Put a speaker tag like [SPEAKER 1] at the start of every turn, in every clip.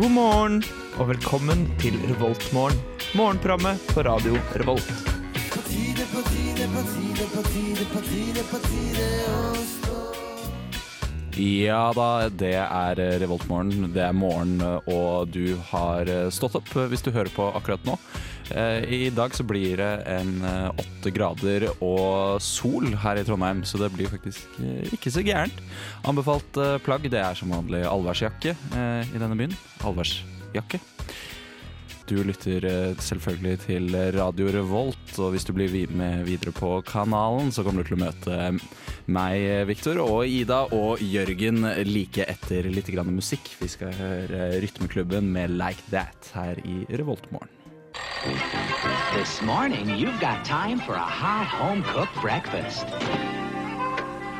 [SPEAKER 1] God morgen og velkommen til Revoltmorgen. Morgenprogrammet på radio Revolt.
[SPEAKER 2] Ja da, det er Revoltmorgen. Det er morgen, eh, og du har eh, stått opp hvis du hører på akkurat nå. Eh, I dag så blir det en eh, åtte grader og sol her i Trondheim, så det blir faktisk eh, ikke så gærent. Anbefalt eh, plagg, det er som vanlig allværsjakke eh, i denne byen. Allværsjakke. Du lytter eh, selvfølgelig til Radio Revolt, og hvis du blir vi- med videre på kanalen, så kommer du til å møte meg, Viktor, og Ida og Jørgen like etter litt grann musikk. Vi skal høre Rytmeklubben med Like That her i Revoltmorgen.
[SPEAKER 3] This morning, you've got time for a hot home cooked breakfast.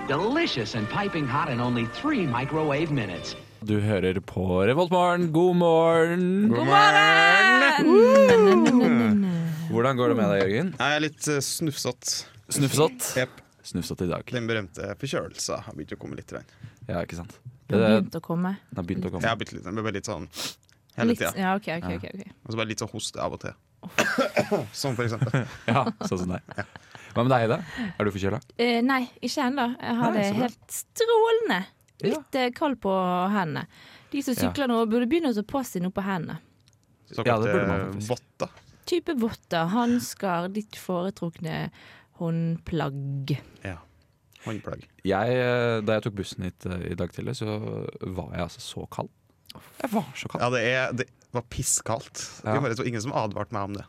[SPEAKER 3] Delicious and piping hot in only three microwave minutes.
[SPEAKER 2] Du hører på Revoltmorgen. God morgen!
[SPEAKER 4] God morgen!
[SPEAKER 2] Hvordan går det med deg, Jørgen?
[SPEAKER 5] Jeg er litt eh, snufsete.
[SPEAKER 2] Snufsete?
[SPEAKER 5] Jepp.
[SPEAKER 2] Snufsete i dag.
[SPEAKER 5] Den berømte forkjølelsen har begynt å komme litt. til den.
[SPEAKER 2] Ja, ikke sant?
[SPEAKER 4] Det
[SPEAKER 2] Det,
[SPEAKER 4] har
[SPEAKER 2] det
[SPEAKER 4] begynt å komme.
[SPEAKER 2] har begynt å
[SPEAKER 5] Jeg
[SPEAKER 2] komme.
[SPEAKER 5] har blitt litt, jeg blir bare litt sånn hele
[SPEAKER 4] Litt,
[SPEAKER 5] tida.
[SPEAKER 4] ja, ok, ok, ok, ok.
[SPEAKER 5] Og så bare litt sånn hoste av og til. Som for eksempel.
[SPEAKER 2] Ja, sånn som deg. Hva med deg, Ida? Er du forkjøla?
[SPEAKER 4] Eh, nei, ikke ennå. Jeg har
[SPEAKER 2] Nei,
[SPEAKER 4] det
[SPEAKER 2] så bra.
[SPEAKER 4] helt strålende.
[SPEAKER 2] Ja.
[SPEAKER 4] Litt eh, kald på hendene. De som
[SPEAKER 2] Ja.
[SPEAKER 4] sykler nå, burde begynne å ta på seg noe på hendene.
[SPEAKER 2] Ja, det
[SPEAKER 5] Såkalte
[SPEAKER 2] burde man
[SPEAKER 5] eh,
[SPEAKER 2] faktisk.
[SPEAKER 5] votter.
[SPEAKER 4] Type votter, hansker, ditt foretrukne håndplagg.
[SPEAKER 5] Ja. Håndplagg.
[SPEAKER 2] Jeg, eh, da jeg tok bussen hit eh, i dag tidlig, så var jeg altså så kald. Jeg var så kald.
[SPEAKER 5] Ja, det, er, det var pisskaldt.
[SPEAKER 2] Ja.
[SPEAKER 5] Det var liksom ingen som advarte meg om det.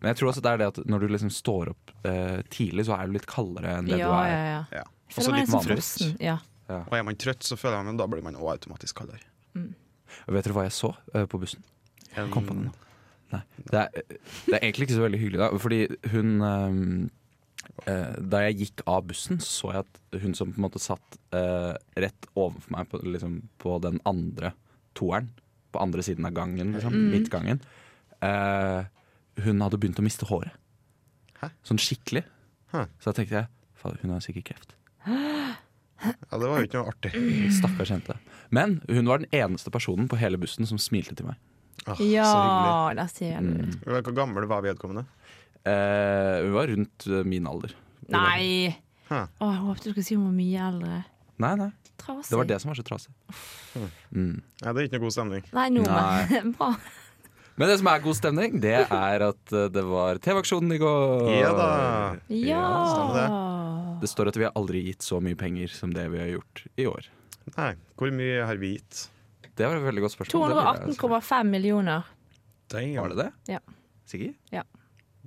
[SPEAKER 2] Men jeg tror også det er det at når du liksom står opp eh, tidlig, så er du litt kaldere enn
[SPEAKER 4] Ja,
[SPEAKER 2] det
[SPEAKER 4] ja,
[SPEAKER 2] du er.
[SPEAKER 4] ja.
[SPEAKER 5] Ja.
[SPEAKER 4] Jeg
[SPEAKER 5] Også
[SPEAKER 4] føler meg
[SPEAKER 5] litt
[SPEAKER 4] litt sånn
[SPEAKER 2] vanligvis.
[SPEAKER 4] frossen. Ja.
[SPEAKER 5] Og er man trøtt, så føler jeg meg, da blir man også automatisk kaldere.
[SPEAKER 2] Og vet dere hva jeg så eh, på bussen?
[SPEAKER 5] En-
[SPEAKER 2] Kom på den nå. Nei. Det er, det er egentlig ikke så veldig hyggelig, da. Fordi hun eh, eh, Da jeg gikk av bussen, så jeg at hun som på en måte satt eh, rett overfor meg på, liksom, på den andre toeren, på andre siden av gangen, liksom,
[SPEAKER 5] Mm.
[SPEAKER 2] midtgangen, eh, hun hadde begynt å miste håret.
[SPEAKER 5] Hæ?
[SPEAKER 2] Sånn skikkelig.
[SPEAKER 5] Hæ.
[SPEAKER 2] Så da tenkte jeg fader, hun har sikkert kreft.
[SPEAKER 5] Ja, det var jo ikke noe artig.
[SPEAKER 2] Stakkars jente. Men hun var den eneste personen på hele bussen som smilte til meg.
[SPEAKER 5] Åh,
[SPEAKER 4] ja,
[SPEAKER 5] Så hyggelig.
[SPEAKER 4] der sier du
[SPEAKER 2] Mm,
[SPEAKER 4] det.
[SPEAKER 5] Hvor gammel var vedkommende?
[SPEAKER 2] Eh, hun var rundt eh, min alder.
[SPEAKER 4] Nei! Å,
[SPEAKER 5] Hæ.
[SPEAKER 4] jeg håpet du skulle si hun var mye eldre.
[SPEAKER 2] Nei, nei.
[SPEAKER 4] Trasig.
[SPEAKER 2] Det var det som var så trasig. Mm.
[SPEAKER 5] Ja, det er ikke noe god stemning.
[SPEAKER 4] Nei, nå,
[SPEAKER 2] Nei.
[SPEAKER 4] men bra.
[SPEAKER 2] Men det som er god stemning, det er at eh, det var TV-aksjonen i går.
[SPEAKER 5] Ja da. stemmer
[SPEAKER 4] Ja!
[SPEAKER 2] Det står at vi har aldri gitt så mye penger som det vi har gjort i år.
[SPEAKER 5] Nei, hvor mye har vi gitt?
[SPEAKER 2] Det var et veldig godt spørsmål. Det lurer jeg på.
[SPEAKER 4] 218,5 millioner.
[SPEAKER 2] Var det det?
[SPEAKER 4] Ja.
[SPEAKER 2] Sikker?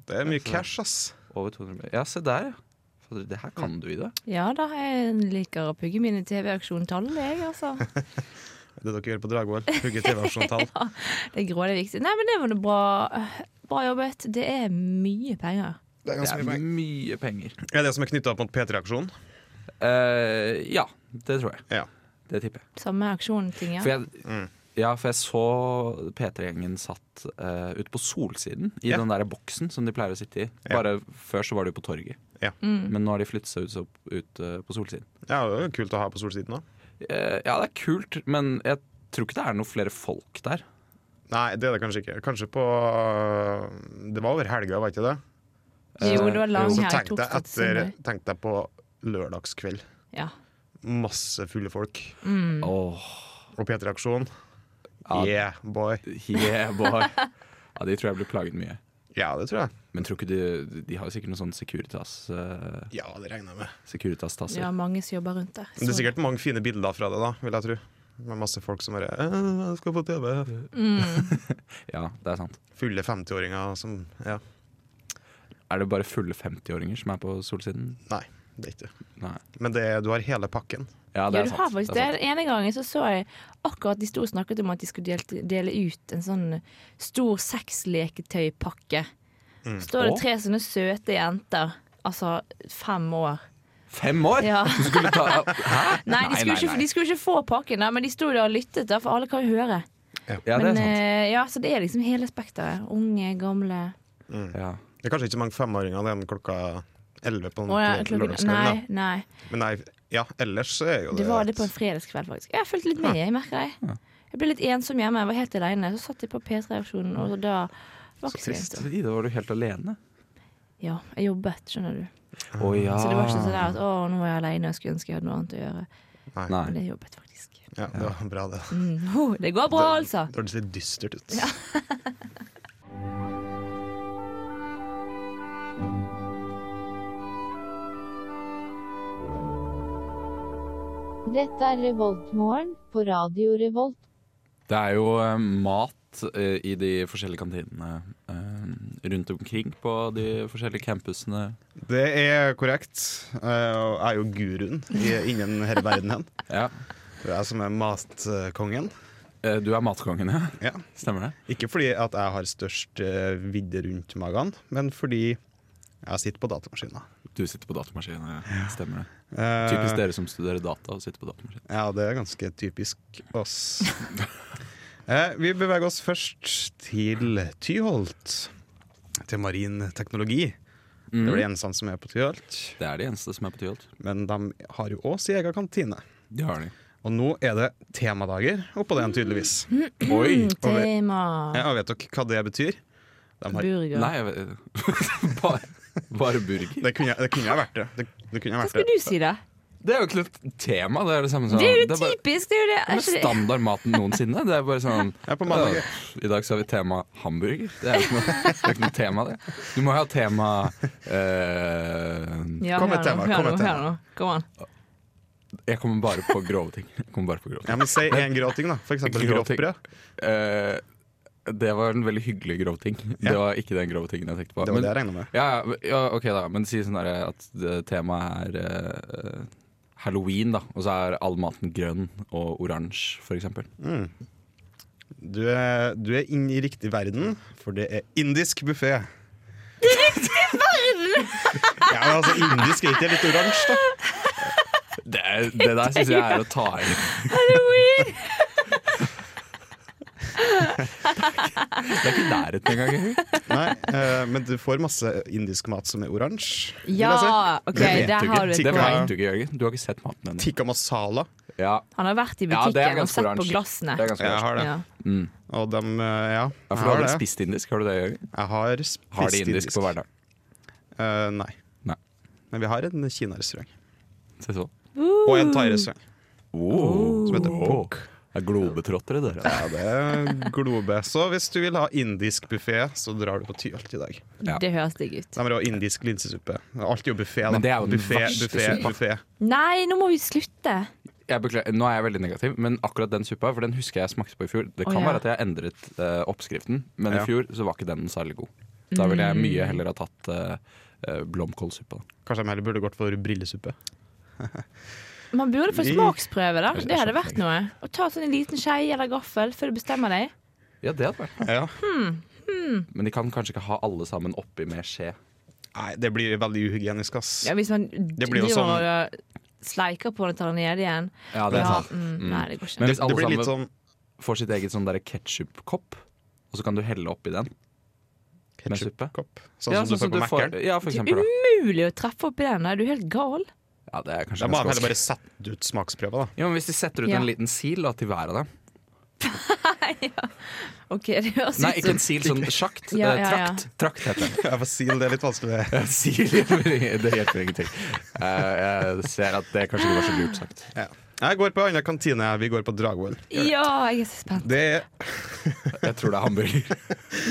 [SPEAKER 5] Det er mye cash, ass.
[SPEAKER 2] Over 200 mil. Ja, se der, ja. Fader, Det her kan du i det.
[SPEAKER 4] Ja da, jeg liker å pugge mine TV-auksjontall, jeg, altså.
[SPEAKER 5] Det dere gjør på Dragvoll. Hugge TV-aksjontall.
[SPEAKER 4] Det grå det er viktig. Nei, men det var nå bra. Bra jobbet. Det er mye penger.
[SPEAKER 5] Det er
[SPEAKER 2] Det
[SPEAKER 5] ganske
[SPEAKER 2] er
[SPEAKER 5] mye penger.
[SPEAKER 2] mye penger.
[SPEAKER 5] Er det som er knytta opp mot P3-aksjonen?
[SPEAKER 2] Eh, ja, det tror jeg.
[SPEAKER 5] Ja.
[SPEAKER 2] Det tipper jeg.
[SPEAKER 4] Samme auksjonting, ja.
[SPEAKER 2] For jeg,
[SPEAKER 5] Mm.
[SPEAKER 2] Ja, for jeg så P3-gjengen satt eh, ute på Solsiden, i
[SPEAKER 5] Ja.
[SPEAKER 2] den der boksen som de pleier å sitte i.
[SPEAKER 5] Ja.
[SPEAKER 2] Bare Før så var de på torget,
[SPEAKER 5] Ja.
[SPEAKER 4] Mm.
[SPEAKER 2] men nå har de flyttet seg ut, så, ut eh, på Solsiden.
[SPEAKER 5] ja, det er jo kult å ha på solsiden òg.
[SPEAKER 2] Eh, ja, det er kult, men jeg tror ikke det er noe flere folk der.
[SPEAKER 5] Nei, det er det kanskje ikke. Kanskje på øh, Det var over helga, var ikke det?
[SPEAKER 4] Jo, det var lang
[SPEAKER 5] Så
[SPEAKER 4] helg.
[SPEAKER 5] tenk deg,
[SPEAKER 4] torsdag til
[SPEAKER 5] etter,
[SPEAKER 4] søndag.
[SPEAKER 5] tenk deg på lørdagskveld.
[SPEAKER 4] Ja.
[SPEAKER 5] Masse fulle folk.
[SPEAKER 4] Mm.
[SPEAKER 2] Åh,
[SPEAKER 5] Og P3-aksjon.
[SPEAKER 2] Ja.
[SPEAKER 5] Yeah, boy.
[SPEAKER 2] yeah, boy. Ja, de tror jeg blir plaget mye.
[SPEAKER 5] Ja, det tror jeg.
[SPEAKER 2] Men tror ikke de, de har jo sikkert noen sånn Securitas, eh,
[SPEAKER 5] Ja, det regner jeg med.
[SPEAKER 4] Vi
[SPEAKER 2] Securitas-tasser.
[SPEAKER 4] har mange som jobber rundt der.
[SPEAKER 5] Det er sikkert mange fine bilder fra det, da, vil jeg tro. Med masse folk som bare «Eh, jeg skal på TV.
[SPEAKER 2] Ja, det er sant.
[SPEAKER 5] Fulle 50-åringer som Ja.
[SPEAKER 2] Er det bare fulle 50-åringer som er på Solsiden?
[SPEAKER 5] Nei, det er ikke det.
[SPEAKER 2] Nei.
[SPEAKER 5] Men det, er- du har hele pakken.
[SPEAKER 2] Ja, det
[SPEAKER 4] Ja,
[SPEAKER 2] er
[SPEAKER 4] du har
[SPEAKER 2] sant.
[SPEAKER 4] faktisk
[SPEAKER 2] er
[SPEAKER 4] det.
[SPEAKER 2] sant.
[SPEAKER 4] Den ene gangen så, så jeg akkurat de sto og snakket om at de skulle dele, dele ut en sånn stor sexleketøypakke. Så Står
[SPEAKER 2] Mm. Å?
[SPEAKER 4] det tre sånne søte jenter, altså fem år.
[SPEAKER 2] Fem år?!
[SPEAKER 4] Ja.
[SPEAKER 2] Du skulle ta Hæ?
[SPEAKER 4] Nei, de skulle, ikke, de skulle ikke få pakken, da, men de sto der og lyttet, da, for alle kan jo høre.
[SPEAKER 2] Ja, det er
[SPEAKER 4] men,
[SPEAKER 2] sant.
[SPEAKER 4] eh, ja, så det er liksom hele spekteret. Unge, gamle
[SPEAKER 2] Ja.
[SPEAKER 5] Det er kanskje ikke mange femåringer det er den klokka 11 på en
[SPEAKER 4] Å, ja, klokken-
[SPEAKER 5] lørdagskveld. da.
[SPEAKER 4] Nei, nei.
[SPEAKER 5] Men nei, ja, ellers så er jo det
[SPEAKER 4] Det var det på en fredagskveld, faktisk. Jeg har fulgt litt med, jeg merker det. Jeg ble litt ensom hjemme, jeg var helt alene. Så satt jeg på P3-aksjonen, og da var
[SPEAKER 2] Så
[SPEAKER 4] ikke så
[SPEAKER 2] trist.
[SPEAKER 4] ensom.
[SPEAKER 2] Ida, var du helt alene.
[SPEAKER 4] Ja, jeg jobbet, skjønner du.
[SPEAKER 2] Å ja.
[SPEAKER 4] Så det var ikke sånn der at å, nå er jeg alene, jeg skulle ønske jeg hadde noe annet å gjøre.
[SPEAKER 5] Nei.
[SPEAKER 4] Men
[SPEAKER 2] Nei.
[SPEAKER 4] jeg jobbet faktisk.
[SPEAKER 5] Ja, det var bra, det.
[SPEAKER 4] Mm. ho, det går bra, altså!
[SPEAKER 5] Det hørtes litt dystert ut.
[SPEAKER 6] Dette er Revoltmorgen på Radio Revolt.
[SPEAKER 2] Det er jo eh, mat eh, i de forskjellige kantinene eh, rundt omkring på de forskjellige campusene.
[SPEAKER 5] Det er korrekt. Eh, og Jeg er jo guruen i- innen denne verdenen.
[SPEAKER 2] Ja.
[SPEAKER 5] Det er jeg som er matkongen.
[SPEAKER 2] Eh, Du er matkongen, ja?
[SPEAKER 5] Ja.
[SPEAKER 2] Stemmer det?
[SPEAKER 5] Ikke fordi at jeg har størst eh, vidde rundt magen, men fordi jeg sitter på datamaskina.
[SPEAKER 2] Du sitter på datamaskin. Ja. Stemmer det.
[SPEAKER 5] Eh,
[SPEAKER 2] Typisk dere som studerer data og sitter på datamaskin.
[SPEAKER 5] Ja, det er ganske typisk oss. eh, vi beveger oss først til Tyholt. Til marin teknologi. Det er de eneste som er på Tyholt.
[SPEAKER 2] Mm. Det er de eneste som er på Tyholt.
[SPEAKER 5] Men de har jo òg sin egen kantine.
[SPEAKER 2] Det har de.
[SPEAKER 5] Og nå er det temadager oppå den, tydeligvis.
[SPEAKER 2] Oi!
[SPEAKER 4] Tema
[SPEAKER 5] Ja, vet dere hva det betyr? De har,
[SPEAKER 4] burger.
[SPEAKER 2] Nei, jeg vet bare, bare burger.
[SPEAKER 5] det, kunne, det kunne ha vært det. Det, det kunne ha
[SPEAKER 4] Hva
[SPEAKER 5] vært
[SPEAKER 4] skulle
[SPEAKER 5] det.
[SPEAKER 4] du si, da?
[SPEAKER 2] Det er jo ikke et tema. Det er det samme som
[SPEAKER 4] Det er jo
[SPEAKER 2] bare-
[SPEAKER 4] typisk! Det er jo det.
[SPEAKER 2] det er
[SPEAKER 4] Er ikke det?
[SPEAKER 2] standardmaten noensinne. Det er bare sånn
[SPEAKER 5] Ja, på mandag.
[SPEAKER 2] «Åh, I dag så har vi tema hamburger. Det er jo ikke noe, det er jo ikke noe tema, det. Du må jo ha tema eh,
[SPEAKER 4] Ja,
[SPEAKER 5] Kom med
[SPEAKER 4] hør nå,
[SPEAKER 5] tema, kom
[SPEAKER 4] hør
[SPEAKER 5] med
[SPEAKER 4] nå,
[SPEAKER 5] tema.
[SPEAKER 4] hør nå. Kom an.
[SPEAKER 2] Jeg kommer bare på grove ting. Jeg kommer bare på grove ting.
[SPEAKER 5] Ja, men Si én grå ting, da. For eksempel
[SPEAKER 2] Grå
[SPEAKER 5] grått
[SPEAKER 2] ting.
[SPEAKER 5] brød.
[SPEAKER 2] Eh, det var en veldig hyggelig grov ting. Det
[SPEAKER 5] Ja.
[SPEAKER 2] var ikke den grove tingen jeg tenkte på.
[SPEAKER 5] Det var
[SPEAKER 2] Men-
[SPEAKER 5] det jeg regna med.
[SPEAKER 2] Ja, ja, ja, ok da, men si sånn der at det- temaet er eh, Halloween, da. Og så er all maten grønn og oransje, for eksempel.
[SPEAKER 5] Du er, du er inn i riktig verden, for det er indisk buffé. Riktig verden! ja, men altså Indisk er ikke det litt oransje, da?
[SPEAKER 2] Det, er- det der syns jeg er å ta i.
[SPEAKER 4] Halloween!
[SPEAKER 2] Det er ikke nærheten engang. jeg.
[SPEAKER 5] Nei, eh, men du får masse indisk mat som er oransje. vil jeg si.
[SPEAKER 4] Ja, OK,
[SPEAKER 2] Det vet
[SPEAKER 4] der
[SPEAKER 2] du
[SPEAKER 4] har du
[SPEAKER 2] ikke.
[SPEAKER 4] et
[SPEAKER 2] Det
[SPEAKER 4] poeng.
[SPEAKER 2] vet du ikke, Jørgen. Du har ikke sett maten ennå.
[SPEAKER 5] Tikka masala.
[SPEAKER 2] Ja.
[SPEAKER 4] Han har vært i
[SPEAKER 2] Ja, det er
[SPEAKER 4] butikken og
[SPEAKER 2] ganske
[SPEAKER 4] sett på
[SPEAKER 2] oransje.
[SPEAKER 4] glassene.
[SPEAKER 2] Det er ganske
[SPEAKER 5] Jeg
[SPEAKER 2] ja.
[SPEAKER 5] har det.
[SPEAKER 4] Ja.
[SPEAKER 5] Og dem, eh, ja.
[SPEAKER 2] Ja,
[SPEAKER 5] Jeg
[SPEAKER 2] for du har
[SPEAKER 5] har
[SPEAKER 2] aldri
[SPEAKER 5] det.
[SPEAKER 2] spist indisk, har du det, Jørgen?
[SPEAKER 5] Jeg har spist
[SPEAKER 2] Har de indisk på hverdag?
[SPEAKER 5] Eh, nei.
[SPEAKER 2] Nei.
[SPEAKER 5] Men vi har en kinarestaurant.
[SPEAKER 2] Se så.
[SPEAKER 5] Og en thairestaurant.
[SPEAKER 2] Oh.
[SPEAKER 5] Som heter Pok.
[SPEAKER 2] Det er globetrottere, dere.
[SPEAKER 5] Ja, det er globe. Så hvis du vil ha indisk buffé, så drar du på Tyholt i dag.
[SPEAKER 2] Ja.
[SPEAKER 4] Det høres digg ut.
[SPEAKER 5] De har også indisk linsesuppe. Alt er jo buffé, da.
[SPEAKER 2] Men det er jo den
[SPEAKER 5] buffé,
[SPEAKER 2] verste
[SPEAKER 5] buffé,
[SPEAKER 2] suppa.
[SPEAKER 5] buffé.
[SPEAKER 4] Nei, nå må vi slutte!
[SPEAKER 2] Jeg beklager, nå er jeg veldig negativ, men akkurat den suppa For den husker jeg smakte på i fjor. Det
[SPEAKER 4] Å,
[SPEAKER 2] kan
[SPEAKER 4] ja.
[SPEAKER 2] være at jeg endret eh, oppskriften, men
[SPEAKER 5] Ja.
[SPEAKER 2] i fjor så var ikke den særlig god. Da ville jeg
[SPEAKER 4] Mm.
[SPEAKER 2] mye heller ha tatt eh, eh, blomkålsuppa.
[SPEAKER 5] Kanskje de heller burde gått for brillesuppe.
[SPEAKER 4] Man burde få
[SPEAKER 5] Vi-
[SPEAKER 4] smaksprøve, da.
[SPEAKER 2] Jeg- jeg
[SPEAKER 4] Det hadde
[SPEAKER 2] skjønner
[SPEAKER 4] vært noe. Å ta sånn en liten skei eller gaffel før du bestemmer deg.
[SPEAKER 2] Ja, det hadde vært
[SPEAKER 5] Ja.
[SPEAKER 2] Men de kan kanskje ikke ha alle sammen oppi med skje.
[SPEAKER 5] Nei, det blir veldig uhygienisk, ass.
[SPEAKER 4] Ja, hvis man
[SPEAKER 5] blir jo
[SPEAKER 4] driver
[SPEAKER 5] sånn-
[SPEAKER 4] og uh, sleiker på den og tar den ned igjen.
[SPEAKER 2] Ja, det er
[SPEAKER 4] Ja,
[SPEAKER 2] sant.
[SPEAKER 4] mm, nei, det
[SPEAKER 2] Men
[SPEAKER 4] går ikke.
[SPEAKER 5] Det,
[SPEAKER 2] hvis alle
[SPEAKER 5] det blir
[SPEAKER 2] sammen
[SPEAKER 5] litt sånn
[SPEAKER 2] får sitt eget sånn ketsjupkopp, og så kan du helle oppi den. Med suppe?
[SPEAKER 5] ketchupkopp. Sånn
[SPEAKER 2] ja,
[SPEAKER 5] som du får på Mækkern.
[SPEAKER 2] ja, for
[SPEAKER 4] Det
[SPEAKER 2] eksempel.
[SPEAKER 4] er
[SPEAKER 2] Da.
[SPEAKER 4] umulig å treffe oppi den. da. Er du helt gal?
[SPEAKER 2] Ja, det er
[SPEAKER 5] Da
[SPEAKER 2] kanskje ganske
[SPEAKER 5] må de heller
[SPEAKER 2] vanskelig.
[SPEAKER 5] bare sette ut smaksprøver, da.
[SPEAKER 2] Ja, men Hvis de setter ut
[SPEAKER 4] Ja.
[SPEAKER 2] en liten sil da, til hver av dem
[SPEAKER 4] OK, det høres
[SPEAKER 2] Nei,
[SPEAKER 4] ut
[SPEAKER 2] ikke
[SPEAKER 4] som
[SPEAKER 2] en sil, sånn sjakt.
[SPEAKER 4] Ja,
[SPEAKER 2] eh,
[SPEAKER 4] ja, ja.
[SPEAKER 2] Trakt. Trakt heter det.
[SPEAKER 5] Jeg får si det, det er litt vanskelig.
[SPEAKER 2] Sil hjelper ingen- det hjelper ingenting. Eh, jeg ser at det kanskje ikke var så lurt sagt.
[SPEAKER 5] Ja. Jeg går på en annen kantine. Vi går på Dragvoll.
[SPEAKER 4] Ja, jeg er så spent.
[SPEAKER 5] Det er
[SPEAKER 2] Jeg tror det er hamburger.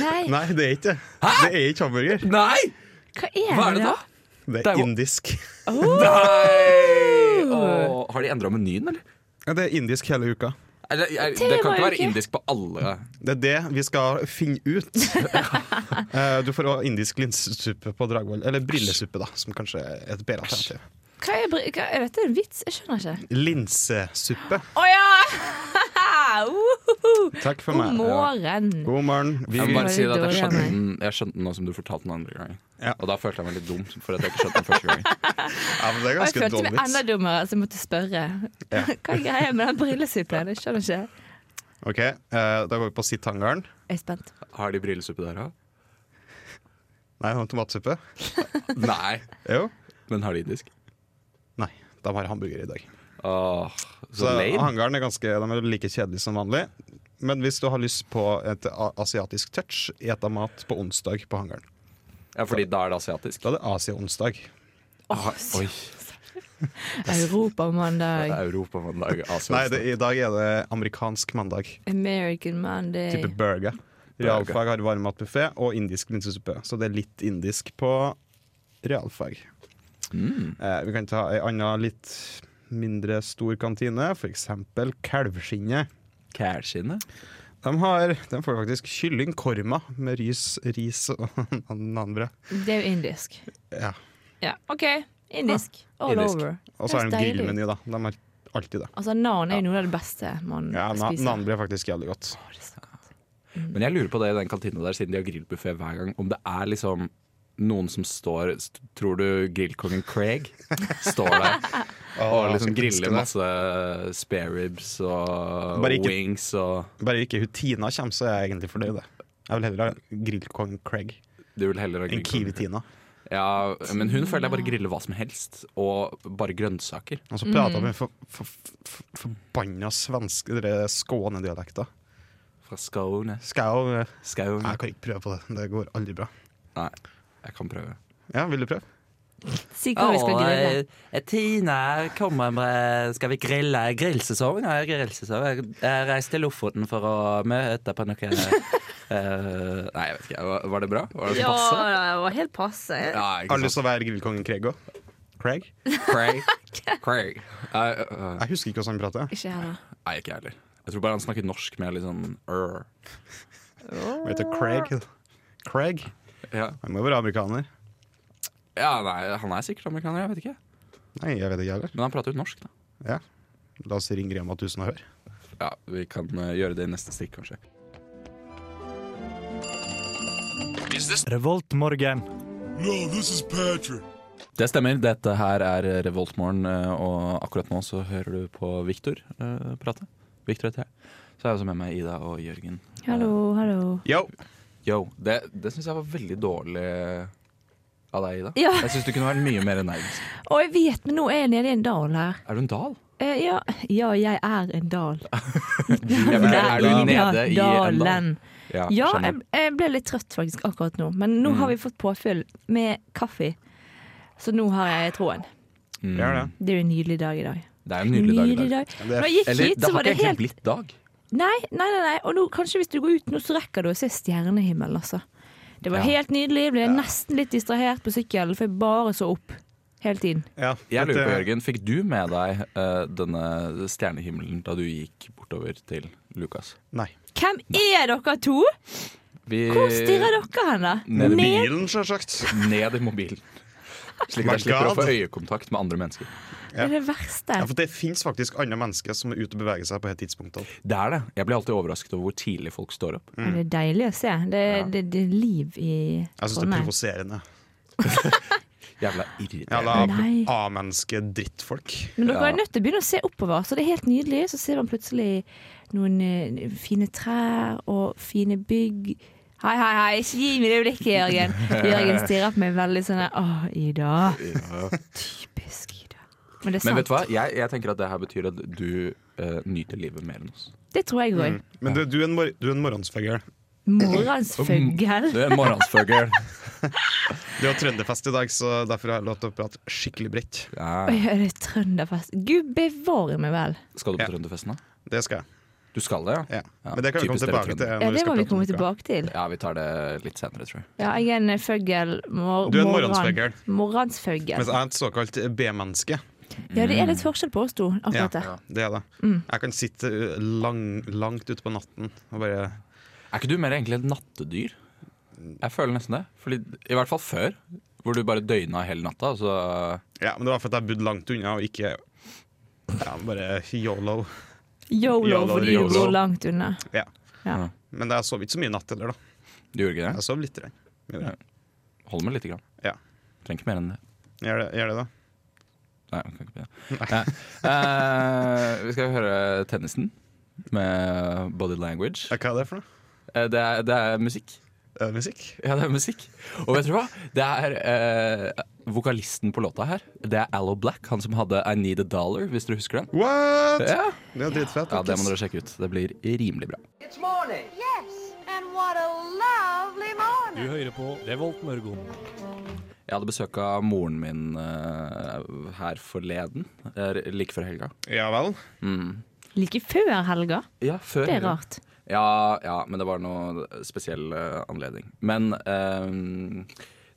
[SPEAKER 4] Nei,
[SPEAKER 5] Nei, det er ikke det. Det er ikke hamburger.
[SPEAKER 2] Nei!
[SPEAKER 4] hva er,
[SPEAKER 2] Hva er det da?
[SPEAKER 5] Det
[SPEAKER 2] Det er
[SPEAKER 5] er
[SPEAKER 2] jo-
[SPEAKER 5] indisk.
[SPEAKER 2] Nei! Åh, har de endra menyen, eller?
[SPEAKER 5] Ja, Det er indisk hele uka.
[SPEAKER 2] eller er,
[SPEAKER 4] Det
[SPEAKER 2] det kan
[SPEAKER 4] var
[SPEAKER 2] ikke
[SPEAKER 4] jo
[SPEAKER 2] være
[SPEAKER 4] ikke-
[SPEAKER 2] indisk på alle.
[SPEAKER 5] Det er det vi skal finne ut. Eh, du får også indisk linsesuppe på Dragvoll. Eller brillesuppe, da, som kanskje er et bedre alternativ.
[SPEAKER 4] Hva er, bri- hva er dette en vits? Jeg skjønner ikke.
[SPEAKER 5] Linsesuppe.
[SPEAKER 4] Å ja! Uhuhu.
[SPEAKER 5] Takk for
[SPEAKER 4] God
[SPEAKER 5] meg.
[SPEAKER 4] morgen.
[SPEAKER 5] God morgen. Vi,
[SPEAKER 2] Jeg må bare si det at jeg
[SPEAKER 4] Dårlig av
[SPEAKER 2] skjønte
[SPEAKER 4] meg.
[SPEAKER 2] den, jeg skjønte den nå som du fortalte den andre gangen.
[SPEAKER 5] Ja.
[SPEAKER 2] Og da følte jeg meg litt dum for at jeg ikke skjønte den første gangen.
[SPEAKER 5] ja, men det er
[SPEAKER 4] Og jeg
[SPEAKER 5] ganske
[SPEAKER 4] følte
[SPEAKER 5] dum
[SPEAKER 4] meg enda
[SPEAKER 5] vits.
[SPEAKER 4] dummere, så jeg måtte spørre.
[SPEAKER 5] Ja.
[SPEAKER 4] Hva er greia med den brillesuppen? Jeg skjønner ikke.
[SPEAKER 5] Ok, eh, Da går vi på Sitthangaren.
[SPEAKER 4] Jeg er spent.
[SPEAKER 2] Har de brillesuppe der òg?
[SPEAKER 5] Nei, det var tomatsuppe.
[SPEAKER 2] Nei.
[SPEAKER 5] Jo.
[SPEAKER 2] Men har de indisk?
[SPEAKER 5] Nei, de har hamburger i dag.
[SPEAKER 2] Åh, så
[SPEAKER 5] Så
[SPEAKER 2] lame.
[SPEAKER 5] hangaren er ganske, de er like kjedelige som vanlig. Men hvis du har lyst på et a- asiatisk touch, et av mat på onsdag på hangaren.
[SPEAKER 2] Ja, fordi da er det asiatisk.
[SPEAKER 5] Da er det Asia-onsdag. Ah,
[SPEAKER 4] Åh,
[SPEAKER 2] Oi, det
[SPEAKER 4] Europamandag.
[SPEAKER 2] er Europamandag.
[SPEAKER 5] Nei,
[SPEAKER 2] Asiatisk.
[SPEAKER 5] det, i dag er det amerikansk mandag.
[SPEAKER 4] American Monday.
[SPEAKER 5] Type burger. Realfag har varmmatbuffé og indisk linsesuppe, så det er litt indisk på realfag. Eh, vi kan ta ei anna litt mindre stor kantine, f.eks. Kalvskinnet.
[SPEAKER 2] Kælskinnet?
[SPEAKER 5] De, har, de får faktisk kyllingkorma med ris, ris og nanbrød.
[SPEAKER 4] Det er jo indisk.
[SPEAKER 5] Ja.
[SPEAKER 4] Ja, OK. Indisk. All
[SPEAKER 2] indisk.
[SPEAKER 4] over.
[SPEAKER 5] Ah, Og så har
[SPEAKER 4] Høres
[SPEAKER 5] de
[SPEAKER 4] deilig ut.
[SPEAKER 5] grillmeny, da. De har alltid det.
[SPEAKER 4] Altså, Nan er jo noe av det beste man
[SPEAKER 5] Ja, na-
[SPEAKER 4] spiser.
[SPEAKER 5] Nanbrød er faktisk jævlig godt.
[SPEAKER 4] Åh, det er så godt.
[SPEAKER 2] Men jeg lurer på det i den kantina der, siden de har grillbuffé hver gang, om det er liksom noen som står st- Tror du grillkongen Craig står der og liksom griller masse spare ribs og
[SPEAKER 5] Bare ikke-
[SPEAKER 2] wings og
[SPEAKER 5] Bare ikke hun Tina kommer, så er jeg egentlig fornøyd. det. Jeg vil heller ha grillkongen Craig
[SPEAKER 2] Du vil heller ha
[SPEAKER 5] enn
[SPEAKER 2] grillkongen Craig.
[SPEAKER 5] Kiwi-Tina.
[SPEAKER 2] Ja, men hun føler jeg bare griller hva som helst, og bare grønnsaker.
[SPEAKER 5] Og så prater vi for, for, for, forbanna svenske dere skånedialekter.
[SPEAKER 2] Fra Skåne.
[SPEAKER 5] Skal jeg eh, jo
[SPEAKER 2] Skaun.
[SPEAKER 5] Nei, Jeg kan ikke prøve på det. Det går aldri bra.
[SPEAKER 2] Nei, jeg kan prøve.
[SPEAKER 5] Ja, vil du prøve?
[SPEAKER 4] Si hva vi skal
[SPEAKER 2] eh,
[SPEAKER 4] grille.
[SPEAKER 2] Tine kommer med Skal vi grille? Grillsesong? Ja, grillsesong. Jeg, jeg reiste til Lofoten for å møte på noe eh, Nei, jeg vet ikke. Var, var det bra? Var det
[SPEAKER 4] Ja,
[SPEAKER 2] passe?
[SPEAKER 4] det var helt passe.
[SPEAKER 2] Ja,
[SPEAKER 5] Har du
[SPEAKER 2] ikke sant.
[SPEAKER 5] lyst til å være grillkongen Craig òg? Craig?
[SPEAKER 2] Craig. Craig. Nei, øh,
[SPEAKER 5] Jeg husker ikke hvordan han prater.
[SPEAKER 4] Ikke her, da.
[SPEAKER 2] nei, ikke jeg heller. Jeg tror bare han snakker norsk med litt sånn øh.
[SPEAKER 5] Han heter Craig. Craig?
[SPEAKER 2] Ja.
[SPEAKER 5] Han må jo være amerikaner.
[SPEAKER 2] ja, nei, han er sikkert amerikaner, jeg vet ikke.
[SPEAKER 5] Nei, jeg vet ikke heller.
[SPEAKER 2] Men han prater jo norsk, da.
[SPEAKER 5] Ja. La oss ringe Rema 1000 og høre.
[SPEAKER 2] Ja, vi kan eh, gjøre det i neste stikk, kanskje.
[SPEAKER 1] Revoltmorgen.
[SPEAKER 2] Det stemmer. Dette her er Revoltmorgen, eh, og akkurat nå så hører du på Viktor eh, prate. Viktor heter jeg. Så er jeg også med meg Ida og Jørgen.
[SPEAKER 4] Hallo, hallo.
[SPEAKER 5] Yo!
[SPEAKER 2] Yo, Det, det syns jeg var veldig dårlig av deg, Ida.
[SPEAKER 4] Ja.
[SPEAKER 2] Jeg syns du kunne vært mye mer energisk.
[SPEAKER 4] Å, jeg vet, men nå er jeg nede i en dal her.
[SPEAKER 2] Er du en dal?
[SPEAKER 4] Eh, ja. ja, jeg er en dal.
[SPEAKER 2] Jeg ble- er du nede i en dal?
[SPEAKER 4] dalen. Ja, jeg, jeg ble litt trøtt faktisk akkurat nå,
[SPEAKER 2] Mm.
[SPEAKER 4] men nå har vi fått påfyll med kaffe. Så nå har jeg troen.
[SPEAKER 2] Mm.
[SPEAKER 5] Gjør det.
[SPEAKER 4] Det er jo en nydelig dag i dag.
[SPEAKER 2] Det er en nydelig dag i dag.
[SPEAKER 5] Men det er-
[SPEAKER 4] Når jeg gikk
[SPEAKER 2] Eller,
[SPEAKER 4] hit,
[SPEAKER 2] det
[SPEAKER 4] så
[SPEAKER 2] har
[SPEAKER 4] var
[SPEAKER 2] ikke
[SPEAKER 4] det
[SPEAKER 2] egentlig
[SPEAKER 4] helt
[SPEAKER 2] blitt dag.
[SPEAKER 4] Nei, nei, nei, nei. og nå kanskje hvis du går ut nå, så rekker du å se stjernehimmelen, altså. Det var
[SPEAKER 2] Ja.
[SPEAKER 4] helt nydelig. Jeg ble nesten litt distrahert på sykkelen, for jeg bare så opp hele tiden.
[SPEAKER 5] Ja,
[SPEAKER 2] Jeg lurer på,
[SPEAKER 5] dette-
[SPEAKER 2] Jørgen, Fikk du med deg eh, denne stjernehimmelen da du gikk bortover til Lukas?
[SPEAKER 5] Nei. Eh,
[SPEAKER 4] Hvem er dere to?
[SPEAKER 2] Vi-
[SPEAKER 4] Hvor stirrer dere hen, da?
[SPEAKER 2] Ned i
[SPEAKER 4] Ned?
[SPEAKER 5] Bilen, sjølsagt.
[SPEAKER 2] ned i mobilen. Slik
[SPEAKER 5] My
[SPEAKER 2] at jeg slipper å
[SPEAKER 5] God.
[SPEAKER 2] få øyekontakt med andre mennesker.
[SPEAKER 4] Det er det verste.
[SPEAKER 5] Ja, for det fins faktisk andre mennesker som er ute og beveger seg på et tidspunkt. også.
[SPEAKER 2] Det er det. Jeg blir alltid overrasket over hvor tidlig folk står opp.
[SPEAKER 4] Det er deilig å se. Det, det, det er liv i
[SPEAKER 5] Jeg syns det er provoserende.
[SPEAKER 2] Jævla irriterende.
[SPEAKER 5] Jævla
[SPEAKER 4] Nei.
[SPEAKER 5] A-menneske-drittfolk.
[SPEAKER 4] Men dere
[SPEAKER 2] Ja.
[SPEAKER 4] er nødt til å begynne å se oppover, så det er helt nydelig. Så ser man plutselig noen eh, fine trær og fine bygg. Hei, hei, hei, ikke gi meg det blikket, Jørgen. Jørgen stirrer på meg veldig sånn der, Åh, Ida. Typisk Ida. Men det er sant.
[SPEAKER 2] Men vet du hva? Jeg, jeg tenker at det her betyr at du eh, nyter livet mer enn oss.
[SPEAKER 4] Det tror jeg går.
[SPEAKER 5] Men du, du, er en mor du er en morgensfugl. Mm.
[SPEAKER 4] Morgens fugl.
[SPEAKER 2] Du er en morgensfugl.
[SPEAKER 5] Det er trønderfest i dag, så derfor har jeg lov til å prate skikkelig bredt.
[SPEAKER 2] Ja.
[SPEAKER 4] Oi, er det trønderfest? Gud bevare meg vel.
[SPEAKER 2] Skal du
[SPEAKER 5] Ja.
[SPEAKER 2] på Trønderfesten, da?
[SPEAKER 5] Det skal jeg.
[SPEAKER 2] Du skal det, ja?
[SPEAKER 5] Ja. Men det kan vi komme
[SPEAKER 2] Typisk
[SPEAKER 5] tilbake
[SPEAKER 2] dere
[SPEAKER 5] til.
[SPEAKER 2] trøndere.
[SPEAKER 5] når
[SPEAKER 4] Ja, det
[SPEAKER 5] skal
[SPEAKER 4] må vi
[SPEAKER 5] prate om
[SPEAKER 4] komme
[SPEAKER 5] noe.
[SPEAKER 4] tilbake til.
[SPEAKER 2] Ja, vi tar det litt senere, tror jeg.
[SPEAKER 4] Ja, jeg er en fugl. Mor
[SPEAKER 5] Du er en
[SPEAKER 4] morgen-
[SPEAKER 5] morgensfugl.
[SPEAKER 4] Morgensfugl.
[SPEAKER 5] Mens jeg er et såkalt B-menneske.
[SPEAKER 4] Ja, det er litt forskjell på oss to
[SPEAKER 5] Mm. Ja,
[SPEAKER 4] akkurat der.
[SPEAKER 5] det er det.
[SPEAKER 4] Mm.
[SPEAKER 5] Jeg kan sitte uh, lang, langt ute på natten og bare
[SPEAKER 2] Er ikke du mer egentlig et nattedyr? Jeg føler nesten det. Fordi, I hvert fall før, hvor du bare døgna hele natta. Så
[SPEAKER 5] Ja, men det var fordi jeg bodde langt unna og ikke ja, bare yolo.
[SPEAKER 4] Yolo
[SPEAKER 5] Yolo,
[SPEAKER 4] fordi du
[SPEAKER 5] yolo.
[SPEAKER 4] bor langt unna.
[SPEAKER 5] Ja.
[SPEAKER 4] Ja.
[SPEAKER 5] Men jeg sov ikke så mye natt heller, da.
[SPEAKER 2] du gjorde ikke det?
[SPEAKER 5] Jeg sov litt. grann. Gjør det.
[SPEAKER 2] Hold med lite grann.
[SPEAKER 5] Ja.
[SPEAKER 2] Trenger ikke mer enn det.
[SPEAKER 5] Gjør det, gjør det da?
[SPEAKER 2] Nei, jeg kan ikke begynne. Nei. Eh, vi skal høre tennisen med Body Language.
[SPEAKER 5] Ja, hva er det for noe?
[SPEAKER 2] Eh, det, er, det er musikk.
[SPEAKER 5] eh, musikk.
[SPEAKER 2] Ja, det er musikk. Og vet du hva? Det er eh, vokalisten på låta her. Det er Allo Black, han som hadde I Need a Dollar, hvis dere husker den.
[SPEAKER 5] What?!
[SPEAKER 2] Ja,
[SPEAKER 5] Det er dritfett.
[SPEAKER 2] ja det må
[SPEAKER 5] Markus.
[SPEAKER 2] dere sjekke ut. Det blir rimelig bra.
[SPEAKER 7] Yes, and what a lovely morning.
[SPEAKER 8] Du hører på Revolt Mørgon.
[SPEAKER 2] Jeg hadde besøk av moren min eh, her forleden, eh, like før helga.
[SPEAKER 5] ja vel.
[SPEAKER 4] Like før helga.
[SPEAKER 2] Ja, før
[SPEAKER 4] Det er
[SPEAKER 2] helga.
[SPEAKER 4] rart.
[SPEAKER 2] Ja, ja, men det var noe spesiell eh, anledning. Men ehm,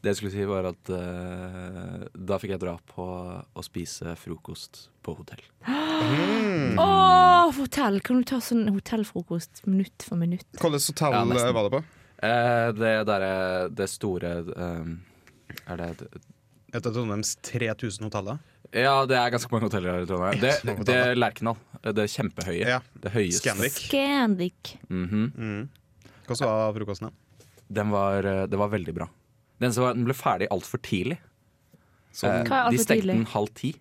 [SPEAKER 2] det jeg skulle si, var at eh, da fikk jeg dra på å spise frokost på hotell. Mm.
[SPEAKER 4] Å, fortell! Kan du ta sånn hotellfrokost minutt for minutt?
[SPEAKER 5] Hvilket hotell
[SPEAKER 2] Ja, nesten.
[SPEAKER 5] eh, var det på?
[SPEAKER 2] Eh, det derre Det store ehm, Er det
[SPEAKER 5] Et av Trondheims 3000 hoteller.
[SPEAKER 2] Ja, det er ganske mange hoteller her i Trondheim. Det,
[SPEAKER 5] mange
[SPEAKER 2] det
[SPEAKER 5] hoteller.
[SPEAKER 2] Lerkendal. Det kjempehøye.
[SPEAKER 5] Ja.
[SPEAKER 2] Det høyeste.
[SPEAKER 5] Scandic.
[SPEAKER 4] Scandic.
[SPEAKER 2] Mhm.
[SPEAKER 5] Hvordan var frokosten? da?
[SPEAKER 2] Den var, eh, det var veldig bra. Den, som var, den ble ferdig altfor tidlig. Eh,
[SPEAKER 5] Sånn
[SPEAKER 4] Hva er alt
[SPEAKER 2] De
[SPEAKER 4] for
[SPEAKER 2] stengte
[SPEAKER 4] tidlig?
[SPEAKER 2] den halv ti.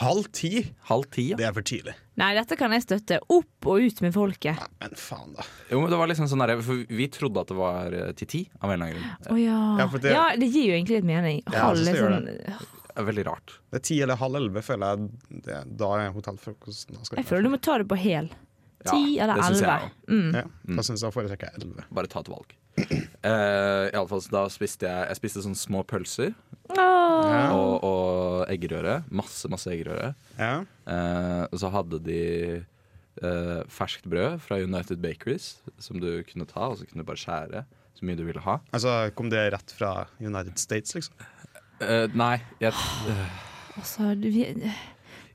[SPEAKER 5] halv ti?
[SPEAKER 2] Halv ti, ja.
[SPEAKER 5] Det er for tidlig.
[SPEAKER 4] Nei, dette kan jeg støtte. Opp og ut med folket.
[SPEAKER 5] Men faen, da.
[SPEAKER 2] Jo, men det var liksom sånn der, for Vi trodde at det var eh, til ti, av en eller annen grunn.
[SPEAKER 4] Å ja.
[SPEAKER 5] Ja,
[SPEAKER 4] Ja,
[SPEAKER 5] for det-
[SPEAKER 4] det... gir jo egentlig litt mening.
[SPEAKER 5] Ja, jeg
[SPEAKER 4] Halv
[SPEAKER 5] synes
[SPEAKER 4] er
[SPEAKER 5] det gjør
[SPEAKER 4] sånn
[SPEAKER 2] Det er Veldig rart.
[SPEAKER 5] Det er ti eller halv elleve, føler jeg. Det, da er hotellfrokosten da skal
[SPEAKER 4] Jeg føler du må ta det på hel. Ti
[SPEAKER 2] Ja,
[SPEAKER 4] eller
[SPEAKER 2] det synes jeg
[SPEAKER 4] elleve.
[SPEAKER 2] også.
[SPEAKER 4] Mm.
[SPEAKER 5] Ja, da syns jeg foretrekker jeg elleve.
[SPEAKER 2] Bare ta et valg. Uh, Iallfall da spiste jeg Jeg spiste sånne små pølser
[SPEAKER 4] Åh.
[SPEAKER 2] og, og eggerøre. Masse, masse eggerøre.
[SPEAKER 5] Ja.
[SPEAKER 2] Eh, og så hadde de eh, ferskt brød fra United Bakeries som du kunne ta, og så kunne du bare skjære så mye du ville ha.
[SPEAKER 5] Altså, kom det rett fra United States, liksom?
[SPEAKER 2] Eh, nei, jeg,
[SPEAKER 4] Altså, du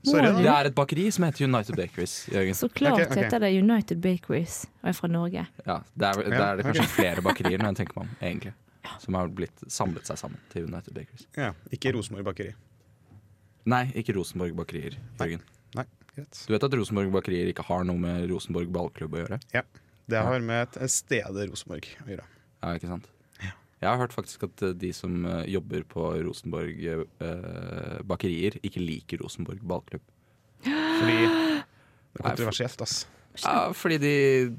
[SPEAKER 5] Sorry,
[SPEAKER 2] det
[SPEAKER 5] da.
[SPEAKER 2] er et bakeri som heter United Bakeries. Jørgen.
[SPEAKER 4] Så klart
[SPEAKER 5] Ok, ok.
[SPEAKER 4] heter det United Bakeries og er fra Norge.
[SPEAKER 2] Ja, det er, det er det kanskje flere bakerier når jeg tenker meg om, egentlig. Som har blitt, samlet seg sammen til United Bakeries.
[SPEAKER 5] Ja, ikke Rosenborg bakeri.
[SPEAKER 2] Nei, ikke Rosenborg Bakerier, Jørgen.
[SPEAKER 5] Nei, greit.
[SPEAKER 2] Du vet at Rosenborg Bakerier ikke har noe med Rosenborg ballklubb å gjøre?
[SPEAKER 5] Ja. Det har med et sted Rosenborg å gjøre.
[SPEAKER 2] Ja, ikke sant? Jeg har hørt faktisk at eh, de som eh, jobber på Rosenborg eh, bakerier, ikke liker Rosenborg ballklubb.
[SPEAKER 5] Fordi det er
[SPEAKER 2] for-
[SPEAKER 5] kontroversielt, ass.
[SPEAKER 2] Ja, fordi de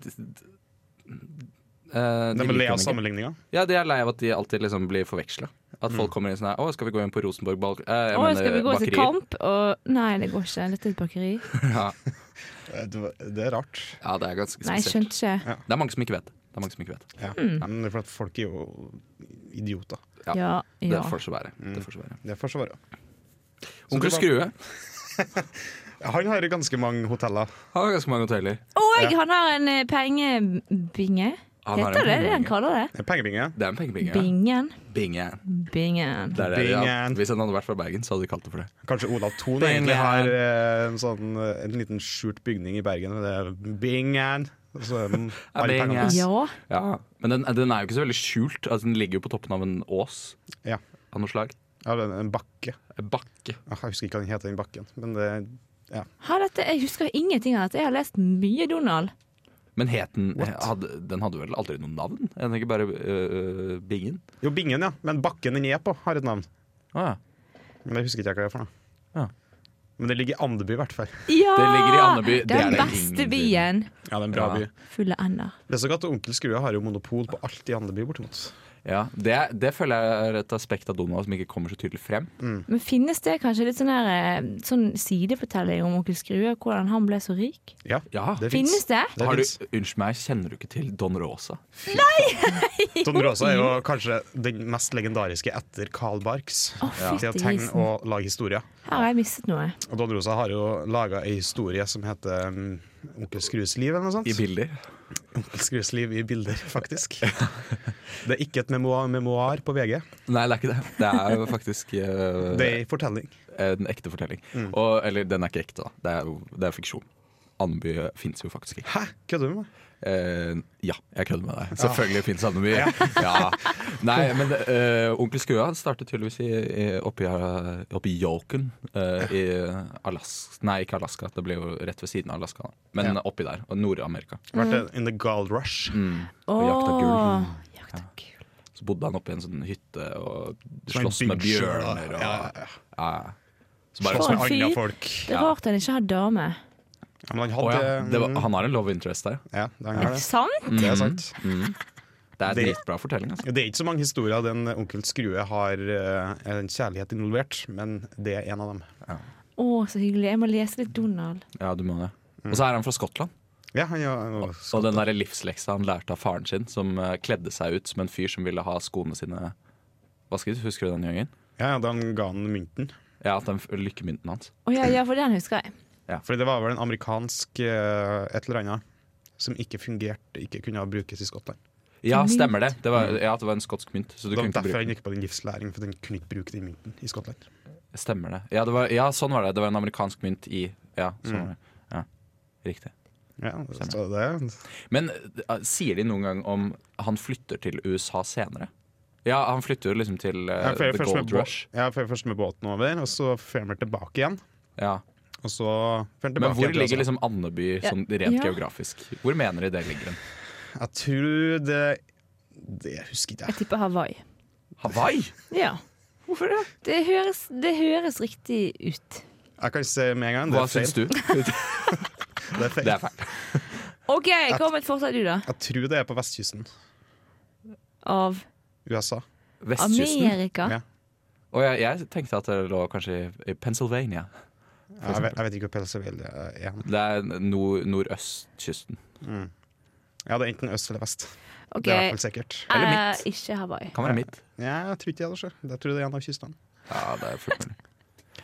[SPEAKER 2] De, eh,
[SPEAKER 5] De må
[SPEAKER 2] liker
[SPEAKER 5] le
[SPEAKER 2] dem
[SPEAKER 5] av
[SPEAKER 2] ikke.
[SPEAKER 5] sammenligninga.
[SPEAKER 2] Ja, de er lei av at de alltid liksom blir forveksla. At folk kommer inn sånn her Å, skal vi gå inn på Rosenborg ball... Eh, jeg
[SPEAKER 4] Å,
[SPEAKER 2] mener,
[SPEAKER 4] skal vi gå til
[SPEAKER 2] bakerier».
[SPEAKER 4] kamp? Og nei, det går ikke. Dette er et bakeri.
[SPEAKER 2] Ja.
[SPEAKER 5] Eh, Det er rart.
[SPEAKER 2] ja, det er ganske
[SPEAKER 4] Nei, jeg
[SPEAKER 2] spesielt.
[SPEAKER 4] skjønte ikke.
[SPEAKER 2] Det er mange som ikke vet det. Det er mange som ikke vet det.
[SPEAKER 5] Ja.
[SPEAKER 4] Mm.
[SPEAKER 5] Men det er for at folk er jo idioter.
[SPEAKER 2] Ja.
[SPEAKER 4] Ja,
[SPEAKER 2] Det
[SPEAKER 4] ja.
[SPEAKER 2] får så være. Det får så være.
[SPEAKER 5] Det får så være. Så
[SPEAKER 2] Mm. Onkel
[SPEAKER 5] du var-
[SPEAKER 2] Skrue
[SPEAKER 5] Han har ganske mange hoteller.
[SPEAKER 2] har ganske mange hoteller.
[SPEAKER 4] Og han har en eh, pengebinge.
[SPEAKER 2] Han har en
[SPEAKER 4] Heter det det han
[SPEAKER 2] pengebinge.
[SPEAKER 4] kaller det?
[SPEAKER 5] Det er Pengebinge.
[SPEAKER 2] Det er en pengebinge. ja.
[SPEAKER 4] Bingen.
[SPEAKER 2] Binge.
[SPEAKER 4] Bingen.
[SPEAKER 2] Det er det, ja.
[SPEAKER 5] Bingen.
[SPEAKER 2] Hvis han hadde vært fra Bergen, så hadde de kalt det for det.
[SPEAKER 5] Kanskje Olav Thon
[SPEAKER 2] Bingen.
[SPEAKER 5] egentlig har eh, en, sånn, eh, en liten skjult bygning i Bergen. og Det er Bingen. Og så er den-
[SPEAKER 2] Ja,
[SPEAKER 5] alle
[SPEAKER 2] Bingen.
[SPEAKER 5] pengene hans.
[SPEAKER 4] Ja.
[SPEAKER 2] Ja. Men den, den er jo ikke så veldig skjult. Altså, den ligger jo på toppen av en ås
[SPEAKER 5] Ja.
[SPEAKER 2] av noe slag.
[SPEAKER 5] Ja, det er en bakke.
[SPEAKER 2] En bakke.
[SPEAKER 5] Ah, Jeg husker ikke hva den heter, den bakken. Men det er
[SPEAKER 4] Ha, dette, jeg husker ingenting av dette. Jeg har lest mye Donald.
[SPEAKER 2] Men het den hadde, Den hadde vel aldri noe navn? Er Den ikke bare øh, øh, Bingen?
[SPEAKER 5] jo Bingen, ja. Men bakken den er på, har et navn.
[SPEAKER 2] Å ja.
[SPEAKER 5] Men det husker ikke jeg hva det er for noe.
[SPEAKER 2] Ja.
[SPEAKER 5] Men det ligger i Andeby, i hvert fall.
[SPEAKER 4] Ja!
[SPEAKER 2] Det ligger i Andeby. Det er
[SPEAKER 4] Den
[SPEAKER 2] det
[SPEAKER 4] beste
[SPEAKER 2] ingen
[SPEAKER 4] byen.
[SPEAKER 5] Ja, det er en
[SPEAKER 2] bra by.
[SPEAKER 4] Full av ender.
[SPEAKER 5] Det er så godt at Onkel Skrue har jo monopol på alt i Andeby, bortimot.
[SPEAKER 2] ja. Det, det føler jeg er et aspekt av Donald som ikke kommer så tydelig frem.
[SPEAKER 4] Men finnes det kanskje litt sånn, her, eh, sånn sidefortelling om onkel Skrue, hvordan han ble så rik?
[SPEAKER 5] Ja,
[SPEAKER 2] Ja.
[SPEAKER 5] det
[SPEAKER 4] Finnes
[SPEAKER 5] fins.
[SPEAKER 4] det?
[SPEAKER 5] Det
[SPEAKER 2] Har du,
[SPEAKER 5] finnes.
[SPEAKER 2] unnskyld meg, kjenner du ikke til Don Rosa?
[SPEAKER 5] Don Rosa er jo kanskje den mest legendariske etter Carl Barks.
[SPEAKER 4] Å,
[SPEAKER 5] Til å
[SPEAKER 4] fytti
[SPEAKER 5] tegne
[SPEAKER 4] grisen.
[SPEAKER 5] og lage historier.
[SPEAKER 4] Her har jeg mistet noe.
[SPEAKER 5] Og Don Rosa har jo laga ei historie som heter um, Onkel Skrues liv, eller noe sånt.
[SPEAKER 2] I bilder?
[SPEAKER 5] Onkel Skrues liv i bilder, faktisk. Det er ikke et memoar, memoar på VG,
[SPEAKER 2] Nei, det er ikke det. Det er jo faktisk øh,
[SPEAKER 5] det Mm. er ei fortelling.
[SPEAKER 2] en ekte fortelling. Og, eller den er ikke ekte, da. Det er, jo, det er fiksjon. Andeby fins jo faktisk ikke.
[SPEAKER 5] Hæ, kødder du med meg?
[SPEAKER 2] Eh, ja, jeg kødder med deg.
[SPEAKER 5] Ah.
[SPEAKER 2] Selvfølgelig fins Andeby. Ja. Nei, men eh, Onkel Skua startet tydeligvis i, i, oppi, eh, oppi Yoken eh, i Alaska Nei, ikke Alaska, det ble jo rett ved siden av Alaska. Da. Men oppi der. og Nord-Amerika.
[SPEAKER 4] Mm.
[SPEAKER 5] Vært eh, in the gal rush.
[SPEAKER 2] Mm.
[SPEAKER 4] Åh,
[SPEAKER 2] jakta gull.
[SPEAKER 4] jakta gull.
[SPEAKER 2] Så bodde han oppi en sånn hytte og
[SPEAKER 5] Sånn
[SPEAKER 2] sloss med
[SPEAKER 5] big show, da.
[SPEAKER 2] bjørner. Og,
[SPEAKER 5] Ja, ja,
[SPEAKER 2] Ja. Så bare,
[SPEAKER 5] Slåss
[SPEAKER 4] For
[SPEAKER 5] med
[SPEAKER 4] en fyr.
[SPEAKER 5] andre folk.
[SPEAKER 4] Det er rart han ikke har dame.
[SPEAKER 5] Ja, men han
[SPEAKER 2] Å
[SPEAKER 5] hadde
[SPEAKER 2] ja, det var,
[SPEAKER 5] mm,
[SPEAKER 2] han har en love interest der. Mm.
[SPEAKER 5] ja, det, han gjør det.
[SPEAKER 4] Sant?
[SPEAKER 5] det er sant.
[SPEAKER 2] Det er
[SPEAKER 5] Det-
[SPEAKER 2] dritbra fortelling. Altså.
[SPEAKER 5] Det er ikke så mange historier den onkel Skrue har eh, en kjærlighet involvert, men det er en av dem.
[SPEAKER 4] Å, så hyggelig. Jeg må lese litt Donald.
[SPEAKER 2] Ja, du må det.
[SPEAKER 5] Mm.
[SPEAKER 2] Og så er han fra Skottland.
[SPEAKER 5] Ja, han er,
[SPEAKER 2] Og den der livsleksa han lærte av faren sin, som eh, kledde seg ut som en fyr som ville ha skoene sine vasket. Husker du den gangen?
[SPEAKER 5] ja, da han ga han mynten.
[SPEAKER 2] Ja, at den lykkemynten hans.
[SPEAKER 4] Å ja, ja, for den husker jeg.
[SPEAKER 5] For det var vel en amerikansk eh, et eller annet som ikke fungerte, ikke kunne brukes i Skottland.
[SPEAKER 2] Ja,
[SPEAKER 4] Mynt.
[SPEAKER 2] stemmer det. Det var, ja, det var en skotsk mynt. Så du
[SPEAKER 5] det
[SPEAKER 2] kunne
[SPEAKER 5] var
[SPEAKER 2] ikke
[SPEAKER 5] Mm. derfor
[SPEAKER 2] bruke
[SPEAKER 5] han
[SPEAKER 2] den.
[SPEAKER 5] gikk på den livslæringen, for den kunne ikke bruke den mynten i Skottland.
[SPEAKER 2] Stemmer det. Ja, det var, ja, sånn var det. Det var en amerikansk mynt i Ja,
[SPEAKER 5] Mm.
[SPEAKER 2] sånn var det. Ja, riktig.
[SPEAKER 5] Ja, så det,
[SPEAKER 2] Men eh, sier de noen gang om han flytter til USA senere? Ja, han flytter jo liksom til eh,
[SPEAKER 5] ja, for jeg
[SPEAKER 2] The
[SPEAKER 5] først med
[SPEAKER 2] Gold
[SPEAKER 5] bå-
[SPEAKER 2] Rush.
[SPEAKER 5] ja, for jeg først med båten over, og så fer han tilbake igjen.
[SPEAKER 2] Ja.
[SPEAKER 5] Og så fer han tilbake
[SPEAKER 2] Men hvor
[SPEAKER 5] igjen til
[SPEAKER 2] ligger
[SPEAKER 5] USA.
[SPEAKER 2] liksom Andeby sånn rent
[SPEAKER 4] Ja.
[SPEAKER 2] geografisk? Hvor mener de det ligger? hen?
[SPEAKER 5] Jeg tror det Det husker ikke jeg.
[SPEAKER 4] Jeg tipper Hawaii.
[SPEAKER 2] Hawaii?
[SPEAKER 4] Ja. Hvorfor det? Det høres, det høres riktig ut.
[SPEAKER 5] Jeg kan se med en gang. Det
[SPEAKER 2] Hva
[SPEAKER 5] er feil.
[SPEAKER 2] syns du? Det
[SPEAKER 5] Det er feil.
[SPEAKER 2] er feil.
[SPEAKER 4] OK, kom med et forslag du, da.
[SPEAKER 5] Jeg tror det er på vestkysten.
[SPEAKER 4] Av
[SPEAKER 5] USA.
[SPEAKER 2] Vestkysten?
[SPEAKER 4] Amerika.
[SPEAKER 5] Ja.
[SPEAKER 2] Og jeg, jeg tenkte at det lå kanskje i- i Pennsylvania.
[SPEAKER 5] Jeg vet, jeg vet ikke hvor Pennsylvania er. hen.
[SPEAKER 2] Det er nord nordøstkysten.
[SPEAKER 5] Ja, det er enten øst eller vest.
[SPEAKER 4] OK.
[SPEAKER 5] Det er i hvert fall sikkert.
[SPEAKER 2] Eller
[SPEAKER 4] Eh,
[SPEAKER 2] mitt.
[SPEAKER 4] ikke Hawaii.
[SPEAKER 2] Kan være mitt.
[SPEAKER 5] Ja, jeg tror ikke det, altså. Jeg tror det er en av kystene.
[SPEAKER 2] Ja, det er fullt mulig.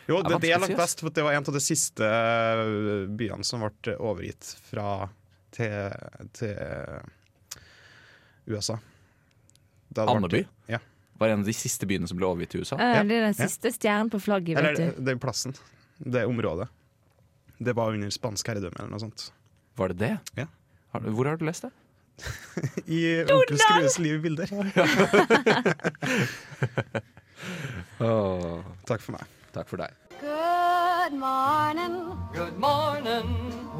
[SPEAKER 5] Jo,
[SPEAKER 2] Ja,
[SPEAKER 5] det, det er
[SPEAKER 2] vanskelig
[SPEAKER 5] langt
[SPEAKER 2] å si, ass.
[SPEAKER 5] vest, for det var en av de siste øh, byene som ble overgitt fra til, til eh, USA. Da det ble-
[SPEAKER 2] Andeby?
[SPEAKER 5] Ja.
[SPEAKER 2] Var en av de siste byene som ble overgitt til USA.
[SPEAKER 4] Eh,
[SPEAKER 5] Ja.
[SPEAKER 4] Det er den siste stjernen på flagget,
[SPEAKER 5] Eller
[SPEAKER 4] vet du.
[SPEAKER 5] det er plassen. Det er området. Det var under spansk herredømme eller noe sånt.
[SPEAKER 2] Var det det?
[SPEAKER 5] Ja.
[SPEAKER 2] Har, du- hvor har du lest det?
[SPEAKER 5] I Onkel Skrues liv i bilder. Takk for meg.
[SPEAKER 2] Takk for deg.
[SPEAKER 7] Good morning.
[SPEAKER 8] Good morning.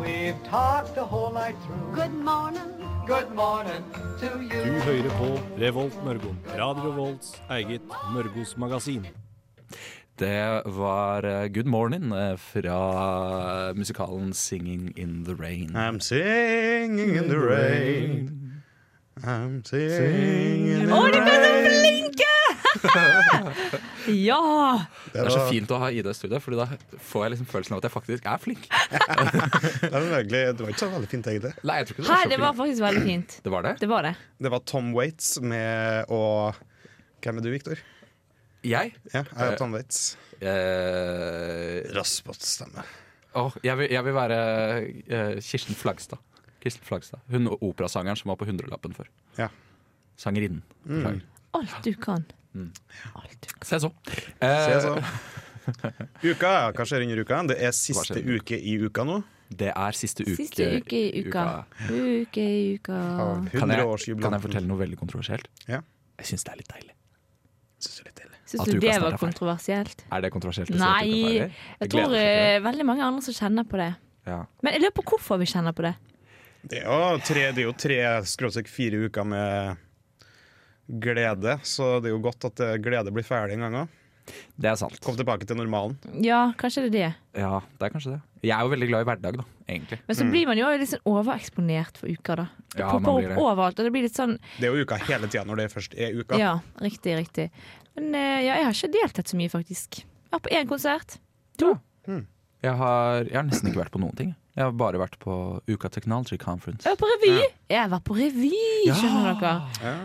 [SPEAKER 8] We've talked the whole night through.
[SPEAKER 7] Good morning.
[SPEAKER 8] Good morning to you.
[SPEAKER 9] Du hører på Revolt Mørgo. Radio Revolts eget Mørgos magasin.
[SPEAKER 2] Det var eh, Good Morning eh, fra musikalen Singing in the Rain.
[SPEAKER 5] I'm singing in the rain. I'm singing in the
[SPEAKER 4] Å, de ble så
[SPEAKER 5] rain.
[SPEAKER 4] flinke! ja!
[SPEAKER 5] Det
[SPEAKER 2] Det er så
[SPEAKER 5] var-
[SPEAKER 2] fint å ha Ida i studio, Fordi da får jeg liksom følelsen av at jeg faktisk er flink.
[SPEAKER 5] Det var, egentlig, det var ikke så veldig fint, egentlig.
[SPEAKER 2] Nei, jeg tror ikke det
[SPEAKER 4] Hei,
[SPEAKER 2] var så
[SPEAKER 4] det var
[SPEAKER 2] flink.
[SPEAKER 4] faktisk veldig fint.
[SPEAKER 2] Det var det?
[SPEAKER 4] Det var det.
[SPEAKER 5] Det var Tom Waits med og Hvem er du, Victor?
[SPEAKER 2] Jeg?
[SPEAKER 5] Ja, jeg er Tom Waits.
[SPEAKER 2] Eh,
[SPEAKER 5] Raspete stemme.
[SPEAKER 2] åh, jeg, vil, jeg vil være eh, Kirsten Flagstad. Kirsten Flagstad. Hun operasangeren som var på hundrelappen før.
[SPEAKER 5] Ja. Mm.
[SPEAKER 2] Sangerinnen. beklager.
[SPEAKER 4] Alt du kan.
[SPEAKER 2] Se så.
[SPEAKER 5] Se
[SPEAKER 2] Eh,
[SPEAKER 5] så. sånn. Uka, ja. Hva skjer under uka? Det er siste
[SPEAKER 2] Hva skjer?
[SPEAKER 5] uke i uka nå.
[SPEAKER 2] Det er siste uke,
[SPEAKER 4] Siste uke i uka. Uke i uka.
[SPEAKER 5] Av
[SPEAKER 2] Ah, Kan jeg,
[SPEAKER 5] 100-årsjubilanten.
[SPEAKER 2] kan jeg fortelle noe veldig kontroversielt?
[SPEAKER 5] Ja.
[SPEAKER 2] Jeg syns det er litt deilig.
[SPEAKER 5] Synes det er litt deilig.
[SPEAKER 2] At
[SPEAKER 4] Syns du
[SPEAKER 2] uka
[SPEAKER 4] det
[SPEAKER 2] snart er
[SPEAKER 4] var
[SPEAKER 2] ferdig.
[SPEAKER 4] kontroversielt?
[SPEAKER 2] Er det kontroversielt? å si at uka er
[SPEAKER 4] Nei,
[SPEAKER 2] ferdig?
[SPEAKER 4] jeg
[SPEAKER 2] gleder
[SPEAKER 4] tror
[SPEAKER 2] meg til
[SPEAKER 4] eh, veldig mange andre som kjenner på det.
[SPEAKER 2] det. Ja.
[SPEAKER 4] Men jeg lurer på hvorfor vi kjenner på det.
[SPEAKER 5] Det er jo tre, det er jo tre skråstrek fire uker med glede, så det er jo godt at eh, glede blir ferdig en gang òg.
[SPEAKER 2] Det er sant.
[SPEAKER 5] Kom tilbake til normalen.
[SPEAKER 4] Ja, kanskje det er det.
[SPEAKER 2] Ja, det er kanskje det. Jeg er jo veldig glad i hverdag, da. Egentlig.
[SPEAKER 4] Men så blir man jo litt sånn overeksponert for uker, da. Det
[SPEAKER 2] Mm. Ja, man
[SPEAKER 4] popper
[SPEAKER 2] blir det.
[SPEAKER 4] opp overalt, og det blir litt sånn
[SPEAKER 5] Det er jo uka hele tida når det først er uka.
[SPEAKER 4] Ja, riktig, riktig. Men eh, ja, jeg har ikke deltatt så mye, faktisk. Jeg har på én konsert.
[SPEAKER 2] Hmm. Jeg har, jeg har nesten ikke vært på noen ting. Jeg har bare vært på Uka Technology Conference.
[SPEAKER 4] Jeg var på revy! Jeg var på revy, skjønner dere.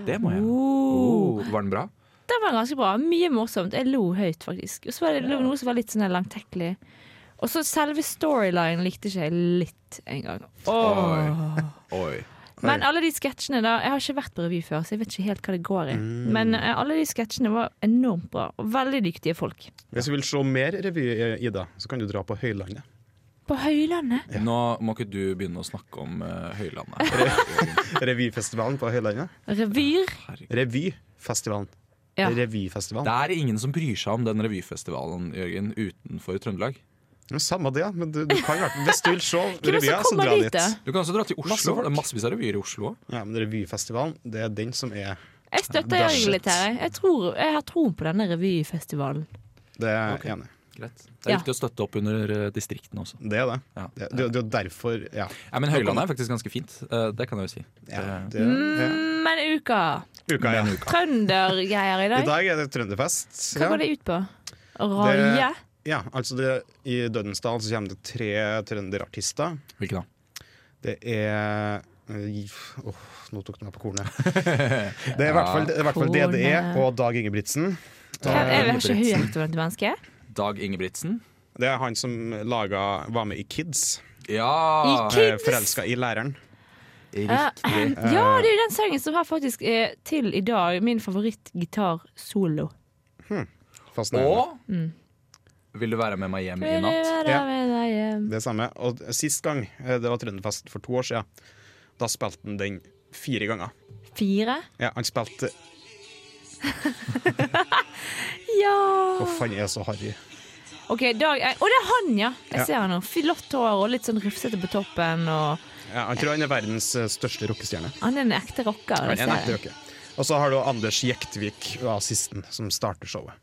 [SPEAKER 2] Det må jeg.
[SPEAKER 4] Oh.
[SPEAKER 2] Oh, var den bra?
[SPEAKER 4] Den var ganske bra. Mye morsomt. Jeg lo høyt, faktisk. Og så var det lo noe som var litt sånn langtekkelig. Og så selve storylinen likte ikke jeg litt engang.
[SPEAKER 2] Oi. Oi.
[SPEAKER 4] Men alle de sketsjene da Jeg har ikke vært på revy før, så jeg vet ikke helt hva det går i. Men eh, alle de sketsjene var enormt bra, og veldig dyktige folk.
[SPEAKER 5] Hvis du vil se mer revy, eh, Ida, så kan du dra på Høylandet.
[SPEAKER 4] På Høylandet.
[SPEAKER 2] Nå må ikke du begynne å snakke om eh, Høylandet.
[SPEAKER 5] Revyfestivalen på Høylandet.
[SPEAKER 4] Revyer.
[SPEAKER 5] Revyfestivalen.
[SPEAKER 4] Ja.
[SPEAKER 5] Revyfestivalen.
[SPEAKER 2] Det er ingen som bryr seg om den revyfestivalen, Jørgen, utenfor Trøndelag.
[SPEAKER 5] Ja, Samme det, men du, du kan i hvert fall Hvis du vil se
[SPEAKER 4] Hvem er det
[SPEAKER 5] revyer,
[SPEAKER 4] som
[SPEAKER 5] så
[SPEAKER 4] kommer
[SPEAKER 5] dra
[SPEAKER 4] dit,
[SPEAKER 5] dit.
[SPEAKER 4] da?
[SPEAKER 2] Du kan også dra til Oslo.
[SPEAKER 5] Masse folk.
[SPEAKER 2] det er massevis av revyer i Oslo òg.
[SPEAKER 5] Ja, men Revyfestivalen, det er den som er
[SPEAKER 4] Jeg støtter
[SPEAKER 5] Det er
[SPEAKER 4] Jørgen litt
[SPEAKER 5] shit.
[SPEAKER 4] her. Jeg, tror, jeg har troen på denne revyfestivalen.
[SPEAKER 5] Det er jeg enig. i.
[SPEAKER 2] rett. Det er
[SPEAKER 4] Ja.
[SPEAKER 2] viktig å støtte opp under eh, distriktene også.
[SPEAKER 5] Det er det.
[SPEAKER 2] Ja.
[SPEAKER 5] Det, det, det er jo derfor Ja.
[SPEAKER 2] Ja, men Høylandet er faktisk ganske fint. eh, Det kan jeg jo si.
[SPEAKER 5] ja,
[SPEAKER 2] Det-
[SPEAKER 5] det, ja.
[SPEAKER 4] Mm, Men uka.
[SPEAKER 5] Uka igjen.
[SPEAKER 4] Trøndergreier i
[SPEAKER 5] I
[SPEAKER 4] dag.
[SPEAKER 5] dag er det trønderfest.
[SPEAKER 4] Hva går
[SPEAKER 5] ja.
[SPEAKER 4] det ut på? Raje?
[SPEAKER 5] Ja, altså det, I Dødensdal så kommer det tre trønderartister.
[SPEAKER 2] Hvilken da?
[SPEAKER 5] Det er eh, Åh, nå tok du meg på kornet. Det er i hvert fall, det er i hvert fall
[SPEAKER 4] Kornet.
[SPEAKER 5] DDE og Dag Ingebrigtsen.
[SPEAKER 4] Hvem- Jeg har ikke hørt om dette mennesket.
[SPEAKER 2] Dag Ingebrigtsen.
[SPEAKER 5] Det er han som laga, var med i Kids.
[SPEAKER 2] Ja!
[SPEAKER 4] I
[SPEAKER 5] eh,
[SPEAKER 4] Kids?
[SPEAKER 5] Forelska i læreren.
[SPEAKER 2] Riktig.
[SPEAKER 4] Eh,
[SPEAKER 5] Eh.
[SPEAKER 4] Ja, det er jo den sangen som har faktisk eh, til i dag min favorittgitarsolo.
[SPEAKER 5] Fascinerende.
[SPEAKER 2] Og Vil du være med meg hjem i
[SPEAKER 4] Vil du
[SPEAKER 2] natt?
[SPEAKER 4] være
[SPEAKER 5] Ja.
[SPEAKER 4] med deg hjem?
[SPEAKER 5] Det samme. Og sist gang, eh, det var Trønderfest for to år siden, da spilte han den fire ganger.
[SPEAKER 4] Fire?
[SPEAKER 5] Ja, han spilte
[SPEAKER 4] Ja!
[SPEAKER 5] Å, han er så harry.
[SPEAKER 4] Ok, Dag Å, det er han, ja! Jeg
[SPEAKER 5] Ja.
[SPEAKER 4] ser han nå. Flott hår og litt sånn rufsete på toppen. Og
[SPEAKER 5] Ja, han tror han er verdens eh, største rockestjerne.
[SPEAKER 4] han er en ekte rocker.
[SPEAKER 5] Han er
[SPEAKER 4] jeg
[SPEAKER 5] en
[SPEAKER 4] ser
[SPEAKER 5] ekte
[SPEAKER 4] det.
[SPEAKER 5] rocker. Og så har du Anders Jektvik, assisten, som starter showet.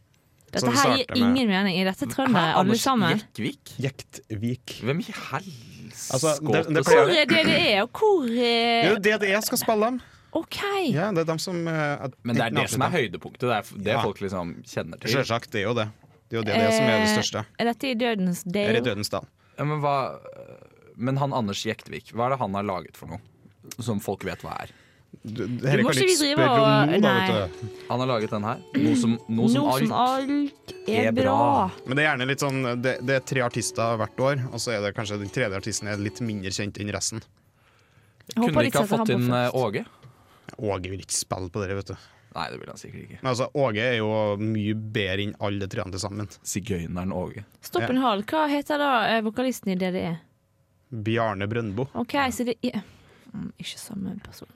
[SPEAKER 4] Dette
[SPEAKER 5] Som
[SPEAKER 4] her gir
[SPEAKER 5] starter sånn med-
[SPEAKER 4] ingen mening. Er dette trøndere, alle
[SPEAKER 2] Anders
[SPEAKER 4] sammen?
[SPEAKER 2] Jektvik?
[SPEAKER 5] Jektvik.
[SPEAKER 2] Hvem i helskåpet
[SPEAKER 5] Altså, det- det pleier-
[SPEAKER 4] Hvor er det det er, og hvor
[SPEAKER 5] Det er
[SPEAKER 4] er
[SPEAKER 5] jo det det er, skal spille dem.
[SPEAKER 4] OK!
[SPEAKER 5] Ja, det er dem som eh, at-
[SPEAKER 2] Men det er det som er høydepunktet. Det er det
[SPEAKER 5] Ja.
[SPEAKER 2] folk liksom kjenner til.
[SPEAKER 5] Selvsagt, det er jo det. Det er jo det, det som er det
[SPEAKER 4] Eh,
[SPEAKER 5] største.
[SPEAKER 4] Er dette i Dødens
[SPEAKER 5] Eller
[SPEAKER 4] Dale?
[SPEAKER 5] Dødens dal.
[SPEAKER 2] Ja, men, hva, eh, men han Anders Jektvik, hva er det han har laget for noe som folk vet hva er?
[SPEAKER 5] Du,
[SPEAKER 4] Du
[SPEAKER 5] dette
[SPEAKER 4] må
[SPEAKER 5] kan du
[SPEAKER 4] ikke
[SPEAKER 5] ikke
[SPEAKER 4] vi drive
[SPEAKER 5] spørre om
[SPEAKER 4] og-
[SPEAKER 5] nå, da,
[SPEAKER 4] nei.
[SPEAKER 5] vet du.
[SPEAKER 2] Han har laget den her. Noe som, noe som
[SPEAKER 4] Noe som
[SPEAKER 2] alt.
[SPEAKER 4] alt er
[SPEAKER 2] er bra.
[SPEAKER 4] bra.
[SPEAKER 5] Men det er gjerne litt sånn det, det er tre artister hvert år, og så er det kanskje den tredje artisten er litt mindre kjent enn resten.
[SPEAKER 4] Jeg
[SPEAKER 2] Kunne
[SPEAKER 4] håper
[SPEAKER 2] vi
[SPEAKER 4] de
[SPEAKER 2] ikke ha
[SPEAKER 4] setter
[SPEAKER 2] fått
[SPEAKER 4] han på
[SPEAKER 2] inn eh,
[SPEAKER 4] først.
[SPEAKER 2] Åge?
[SPEAKER 5] Åge vil ikke spille på dere, vet du.
[SPEAKER 2] Nei, det ville han sikkert ikke.
[SPEAKER 5] Men altså, Åge er jo mye bedre enn alle de treene til sammen.
[SPEAKER 2] Sigøyneren Åge.
[SPEAKER 4] Stopp en hal. Hva heter da eh, vokalisten i DDE?
[SPEAKER 5] Bjarne Brøndbo.
[SPEAKER 4] OK, så det er Mm, Ikke samme person.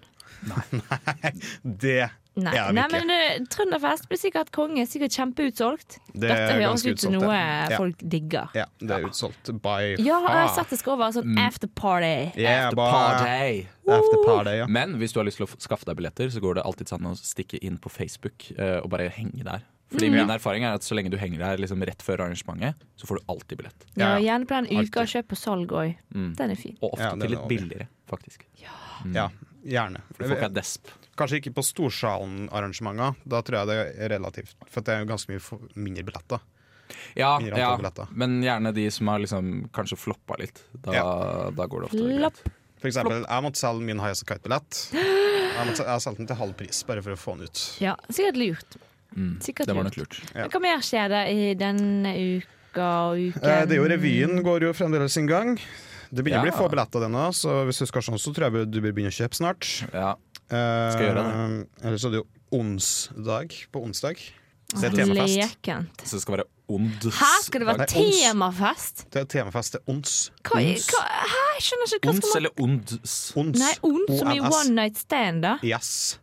[SPEAKER 5] Det
[SPEAKER 4] Nei,
[SPEAKER 5] Ja,
[SPEAKER 4] nei
[SPEAKER 5] virkelig.
[SPEAKER 4] men eh, Trønderfest blir sikkert konge. Sikkert kjempeutsolgt.
[SPEAKER 5] Det er
[SPEAKER 4] Dette høres
[SPEAKER 5] ganske
[SPEAKER 4] ut som
[SPEAKER 5] utsolgt,
[SPEAKER 4] noe eh,
[SPEAKER 5] det. Ja.
[SPEAKER 4] folk digger.
[SPEAKER 5] Ja, Mm. det er utsolgt by
[SPEAKER 4] Ja, jeg har
[SPEAKER 5] far.
[SPEAKER 4] sett det skal over sånn after party.
[SPEAKER 5] Yeah,
[SPEAKER 2] The
[SPEAKER 5] boy.
[SPEAKER 2] Party!
[SPEAKER 5] After party, ja.
[SPEAKER 2] Men hvis du har lyst til å f- skaffe deg billetter, så går det alltid an å stikke inn på Facebook eh, og bare henge der. Fordi
[SPEAKER 4] Mm.
[SPEAKER 2] min erfaring er at så lenge du henger der liksom rett før arrangementet, så får du alltid billett.
[SPEAKER 5] Ja,
[SPEAKER 4] Ja,
[SPEAKER 5] ja.
[SPEAKER 4] Gjerne på den uka
[SPEAKER 5] Alltid. Mm.
[SPEAKER 4] kjøp på salg òg. Den er fin.
[SPEAKER 2] Og ofte
[SPEAKER 5] Ja, den
[SPEAKER 2] til
[SPEAKER 5] er
[SPEAKER 2] litt
[SPEAKER 5] over.
[SPEAKER 2] billigere, faktisk. Mm.
[SPEAKER 5] ja. Gjerne.
[SPEAKER 2] Fordi folk er desp.
[SPEAKER 5] Kanskje ikke på Storsalen-arrangementer. Da tror jeg det er relativt, for det er jo ganske mye for- mindre billetter.
[SPEAKER 2] Ja,
[SPEAKER 5] Mindre antall
[SPEAKER 2] ja,
[SPEAKER 5] billetter.
[SPEAKER 2] men gjerne de som har liksom kanskje floppa litt. Da, da går det ofte
[SPEAKER 4] Flopp.
[SPEAKER 2] greit.
[SPEAKER 5] For eksempel, jeg måtte selge min High As A Kite-billett. Jeg måtte- jeg har solgt den til halv pris, bare for å få den ut.
[SPEAKER 4] Ja, sikkert lurt.
[SPEAKER 5] Mm,
[SPEAKER 4] Sikkert
[SPEAKER 2] Det var
[SPEAKER 4] lurt.
[SPEAKER 2] nok lurt.
[SPEAKER 5] Ja.
[SPEAKER 4] Hva mer skjer det i denne uka og uken?
[SPEAKER 5] Eh, Det er jo Revyen går jo fremdeles sin gang. Det begynner å bli
[SPEAKER 2] Ja.
[SPEAKER 5] få billetter denne, så hvis du skal sånn, så tror jeg du bør begynne å kjøpe snart.
[SPEAKER 2] Ja.
[SPEAKER 5] Eh,
[SPEAKER 2] Skal jeg
[SPEAKER 5] Ellers er det jo onsdag på onsdag. Så det er temafest.
[SPEAKER 4] Lekent.
[SPEAKER 2] Så det skal være ond
[SPEAKER 4] Her skal det være
[SPEAKER 5] Nei, ons.
[SPEAKER 4] temafest!
[SPEAKER 5] Det er temafest til ons.
[SPEAKER 4] Hva,
[SPEAKER 2] Ons.
[SPEAKER 4] hva, hæ, jeg skjønner ikke hva
[SPEAKER 2] Ons
[SPEAKER 4] skal man
[SPEAKER 2] eller onds?
[SPEAKER 5] Ons.
[SPEAKER 4] Nei, ons som i
[SPEAKER 5] ONS.
[SPEAKER 4] one night stand, da.
[SPEAKER 5] Yes.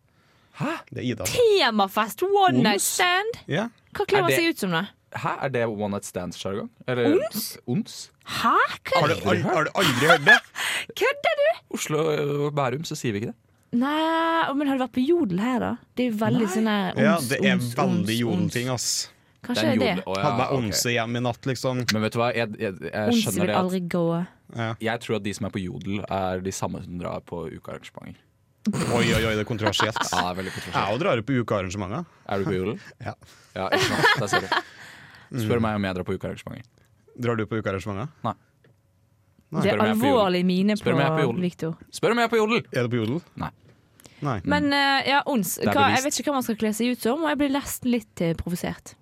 [SPEAKER 2] Hæ?
[SPEAKER 5] Det er Ida.
[SPEAKER 4] Temafest, one
[SPEAKER 2] Ons?
[SPEAKER 4] night stand!
[SPEAKER 5] Ja.
[SPEAKER 4] Hå
[SPEAKER 2] Er
[SPEAKER 4] kler man
[SPEAKER 2] det-
[SPEAKER 4] seg ut som, da?
[SPEAKER 2] Hæ, er det one night stands-sjargong? Ons? Ons?
[SPEAKER 4] Hæ? Hva-
[SPEAKER 5] Har, du, al- har du aldri hørt det?
[SPEAKER 4] Kødder du?!
[SPEAKER 2] Oslo og Bærum, så sier vi ikke det.
[SPEAKER 4] Nei, å, men har du vært på Jodel her, da? Det er jo veldig sånn her
[SPEAKER 5] Ja,
[SPEAKER 4] ons,
[SPEAKER 5] det er
[SPEAKER 4] ons,
[SPEAKER 5] veldig
[SPEAKER 4] ons,
[SPEAKER 5] jodelting, ass.
[SPEAKER 4] ons. Kanskje det er det.
[SPEAKER 2] Å, ja,
[SPEAKER 5] Hadde meg
[SPEAKER 2] ok.
[SPEAKER 5] onse hjem i natt, liksom.
[SPEAKER 2] Men vet du hva, jeg, jeg, jeg
[SPEAKER 4] Ons
[SPEAKER 2] skjønner
[SPEAKER 4] vil
[SPEAKER 2] det at
[SPEAKER 4] aldri gå.
[SPEAKER 2] Jeg tror at de som er på Jodel, er de samme som drar på ukearrangementer.
[SPEAKER 5] Oi, oi, oi, det er kontroversielt.
[SPEAKER 2] Ja, det er veldig
[SPEAKER 5] Jeg
[SPEAKER 2] kontroversielt.
[SPEAKER 5] òg drar jo på ukearrangementer.
[SPEAKER 2] Er du på Jodel?
[SPEAKER 5] Ja. Mm.
[SPEAKER 2] Ja, ikke sant. Der ser du. Spør meg om jeg drar på ukearrangementer.
[SPEAKER 5] Drar du på ukearrangementer?
[SPEAKER 4] Det
[SPEAKER 2] Spør meg
[SPEAKER 4] er
[SPEAKER 2] på Jodel.
[SPEAKER 4] alvorlig mine
[SPEAKER 2] Spør meg på
[SPEAKER 4] på
[SPEAKER 2] Jodel. Mm.
[SPEAKER 4] Victor.
[SPEAKER 2] Spør om jeg er på Jodel!
[SPEAKER 5] Er du på Jodel?
[SPEAKER 2] Nei.
[SPEAKER 5] Nei.
[SPEAKER 4] Men eh, ja, ons.
[SPEAKER 2] er
[SPEAKER 4] Hva, jeg
[SPEAKER 2] bevisst.
[SPEAKER 4] vet ikke hva man skal kle seg ut som, og jeg blir nesten litt eh, provosert.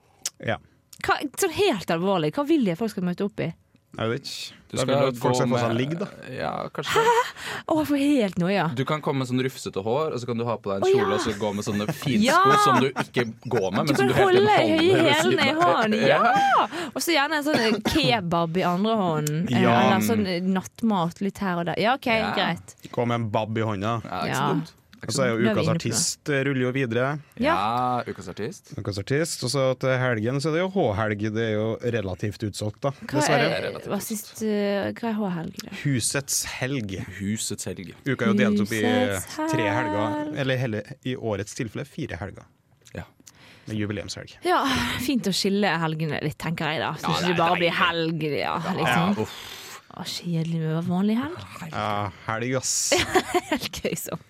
[SPEAKER 5] Ja.
[SPEAKER 4] Hva, sånn helt alvorlig, hva vil de at folk skal møte opp i?
[SPEAKER 5] Jeg vet ikke.
[SPEAKER 2] Du
[SPEAKER 5] Da
[SPEAKER 2] skal
[SPEAKER 5] vil jo at folk
[SPEAKER 2] gå
[SPEAKER 5] skal få seg
[SPEAKER 2] med-
[SPEAKER 5] ligg, da.
[SPEAKER 2] Ja, kanskje.
[SPEAKER 4] Å, jeg får helt noia.
[SPEAKER 2] Du kan komme med sånn rufsete hår, og så kan du ha på deg en
[SPEAKER 4] Å, ja.
[SPEAKER 2] kjole og så gå med sånne finsko
[SPEAKER 4] Ja.
[SPEAKER 2] som du ikke går med, men
[SPEAKER 4] Du
[SPEAKER 2] som
[SPEAKER 4] kan
[SPEAKER 2] du hele
[SPEAKER 4] holde
[SPEAKER 2] tiden
[SPEAKER 4] i
[SPEAKER 2] holder ved
[SPEAKER 4] hælene i
[SPEAKER 2] siden av.
[SPEAKER 4] hånden, ja! Og så gjerne en sånn kebab i andre hånden. eh,
[SPEAKER 5] Ja.
[SPEAKER 4] Eller sånn eh, nattmat litt her og der. Ja, OK,
[SPEAKER 2] Ja.
[SPEAKER 4] greit.
[SPEAKER 5] Gå med en bab i hånda.
[SPEAKER 2] Ja, det er ikke
[SPEAKER 4] Ja.
[SPEAKER 2] så dumt. Det er ikke
[SPEAKER 5] Og så
[SPEAKER 2] så
[SPEAKER 5] er
[SPEAKER 2] dumt.
[SPEAKER 5] jo
[SPEAKER 4] Nå er vi
[SPEAKER 5] Ukas
[SPEAKER 4] inne på det.
[SPEAKER 5] artist eh, ruller jo videre.
[SPEAKER 2] Ja,
[SPEAKER 4] Ja.
[SPEAKER 2] ukas artist.
[SPEAKER 5] Ukas artist, Og så til helgen så er det jo H-helg. Det er jo relativt utsolgt, da.
[SPEAKER 4] Hva
[SPEAKER 5] Dessverre.
[SPEAKER 4] er, hva sist, eh, hva er H-helg? da?
[SPEAKER 5] Husets helg.
[SPEAKER 2] Husets helg.
[SPEAKER 5] Uka er jo delt opp i
[SPEAKER 4] Husets
[SPEAKER 5] tre helger.
[SPEAKER 4] helg.
[SPEAKER 5] Eller heller, i årets tilfelle fire helger.
[SPEAKER 2] Ja.
[SPEAKER 5] med jubileumshelg.
[SPEAKER 4] Ja, fint å skille helgene litt, tenker jeg da. Så ikke det bare blir helg, ja. Liksom. Å, kjedelig med å være vanlig helg.
[SPEAKER 5] Ja, helg, ass.
[SPEAKER 4] Helt gøysomt.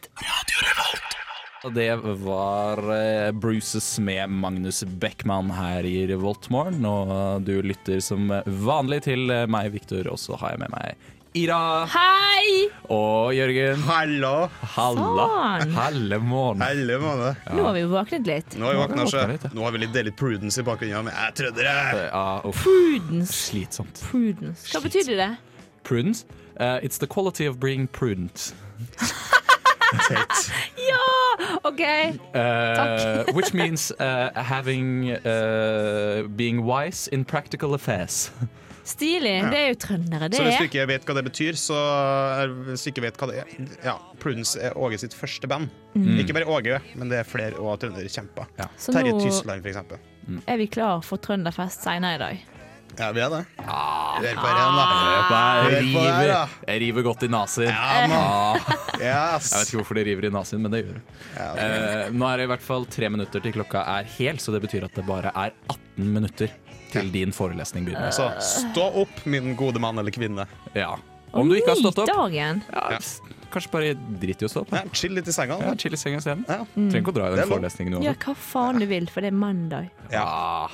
[SPEAKER 2] Og Det var eh, Bruces med Magnus Beckman her i Revoltmorgen. Og eh, du lytter som vanlig til eh, meg, Victor, og så har jeg med meg Ira
[SPEAKER 4] Hei!
[SPEAKER 2] og Jørgen.
[SPEAKER 5] Hallo!
[SPEAKER 2] Halla.
[SPEAKER 4] Sånn.
[SPEAKER 2] Helle måned.
[SPEAKER 5] Helle måned.
[SPEAKER 4] Nå har vi jo våknet litt.
[SPEAKER 5] Nå har vi våkna,
[SPEAKER 2] Nå har vi våkna litt,
[SPEAKER 5] så.
[SPEAKER 2] ja.
[SPEAKER 5] Nå har vi litt delt prudence i bakgrunnen, ja, men jeg er trønder, jeg.
[SPEAKER 2] Ja, uff,
[SPEAKER 4] Prudence.
[SPEAKER 2] slitsomt.
[SPEAKER 4] Prudence. Hva betydde det?
[SPEAKER 2] Prudence? Eh, it's the quality of being prudent.
[SPEAKER 5] Teit.
[SPEAKER 4] Ja! OK.
[SPEAKER 2] Uh, which means uh, having uh, being wise in practical affairs.
[SPEAKER 4] Stilig. Det er jo trøndere, det.
[SPEAKER 5] Så hvis du
[SPEAKER 4] er.
[SPEAKER 5] ikke vet hva det betyr, så er, Hvis du ikke vet hva det er Ja, Prudence er Åge sitt første band. Ikke bare Åge, men det er flere og trønderkjemper.
[SPEAKER 2] Mm. Ja.
[SPEAKER 4] Så
[SPEAKER 5] Terje
[SPEAKER 4] nå-
[SPEAKER 5] Tysland, for eksempel.
[SPEAKER 4] Er vi klar for trønderfest senere i dag?
[SPEAKER 5] Ja, vi er det.
[SPEAKER 2] Ah.
[SPEAKER 5] Hør på den, da.
[SPEAKER 2] Jeg
[SPEAKER 5] Hør på det her, da.
[SPEAKER 2] river, jeg river godt i naser.
[SPEAKER 5] Ja, man.
[SPEAKER 2] Ah,
[SPEAKER 5] Yes.
[SPEAKER 2] jeg vet ikke hvorfor det river i nasen, men det gjør det. Eh, nå er det i hvert fall tre minutter til klokka er hel, så det betyr at det bare er 18 minutter til din forelesning begynner.
[SPEAKER 5] Så stå opp, min gode mann eller kvinne.
[SPEAKER 2] Ja. Om du ikke har stått opp,
[SPEAKER 4] Dagen.
[SPEAKER 2] ja, kanskje bare drit i å stå opp. da.
[SPEAKER 5] Ja, chill litt i senga.
[SPEAKER 2] Ja,
[SPEAKER 5] da.
[SPEAKER 2] chill i senga isteden.
[SPEAKER 5] Ja.
[SPEAKER 2] Trenger ikke å dra i den
[SPEAKER 5] Det er lov.
[SPEAKER 2] forelesningen
[SPEAKER 4] Gjør
[SPEAKER 2] nå.
[SPEAKER 4] hva faen du vil, for det er mandag.
[SPEAKER 2] Ah,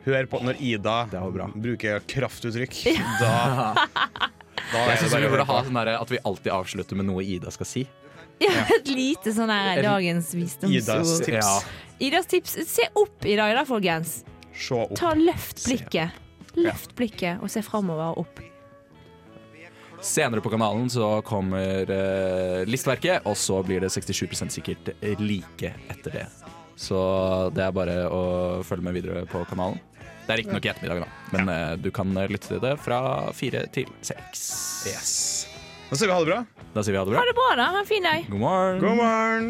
[SPEAKER 5] Hør på når Ida
[SPEAKER 2] Det var bra.
[SPEAKER 5] bruker kraftuttrykk. Da, da
[SPEAKER 2] jeg
[SPEAKER 5] er det
[SPEAKER 2] syns vi
[SPEAKER 5] bare å
[SPEAKER 2] burde
[SPEAKER 5] høre
[SPEAKER 2] ha
[SPEAKER 5] på.
[SPEAKER 2] sånn derre at vi alltid avslutter med noe Ida skal si.
[SPEAKER 4] Ja, et lite sånn her dagens
[SPEAKER 5] Idas
[SPEAKER 4] visdomsord.
[SPEAKER 5] tips.
[SPEAKER 2] Ja.
[SPEAKER 4] Idas tips. Se opp i dag da, folkens.
[SPEAKER 5] Se opp.
[SPEAKER 4] Ta Løft blikket. Løft blikket og se framover og opp.
[SPEAKER 2] Senere på kanalen så kommer eh, listverket, og så blir det 67 sikkert like etter det. Så det er bare å følge med videre på kanalen. Det er riktignok i ettermiddag, da, men eh, du kan eh, lytte til det fra fire til seks.
[SPEAKER 5] Yes. Nå sier vi ha det bra.
[SPEAKER 2] Da sier vi ha det bra.
[SPEAKER 4] Ha det bra, da. Ha en fin dag.
[SPEAKER 2] God morgen.
[SPEAKER 5] God morgen.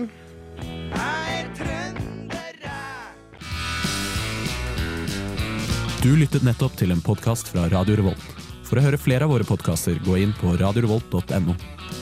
[SPEAKER 2] Du lyttet nettopp til en podkast fra Radio Revolt. For å høre flere av våre podkaster, gå inn på radiorevolt.no.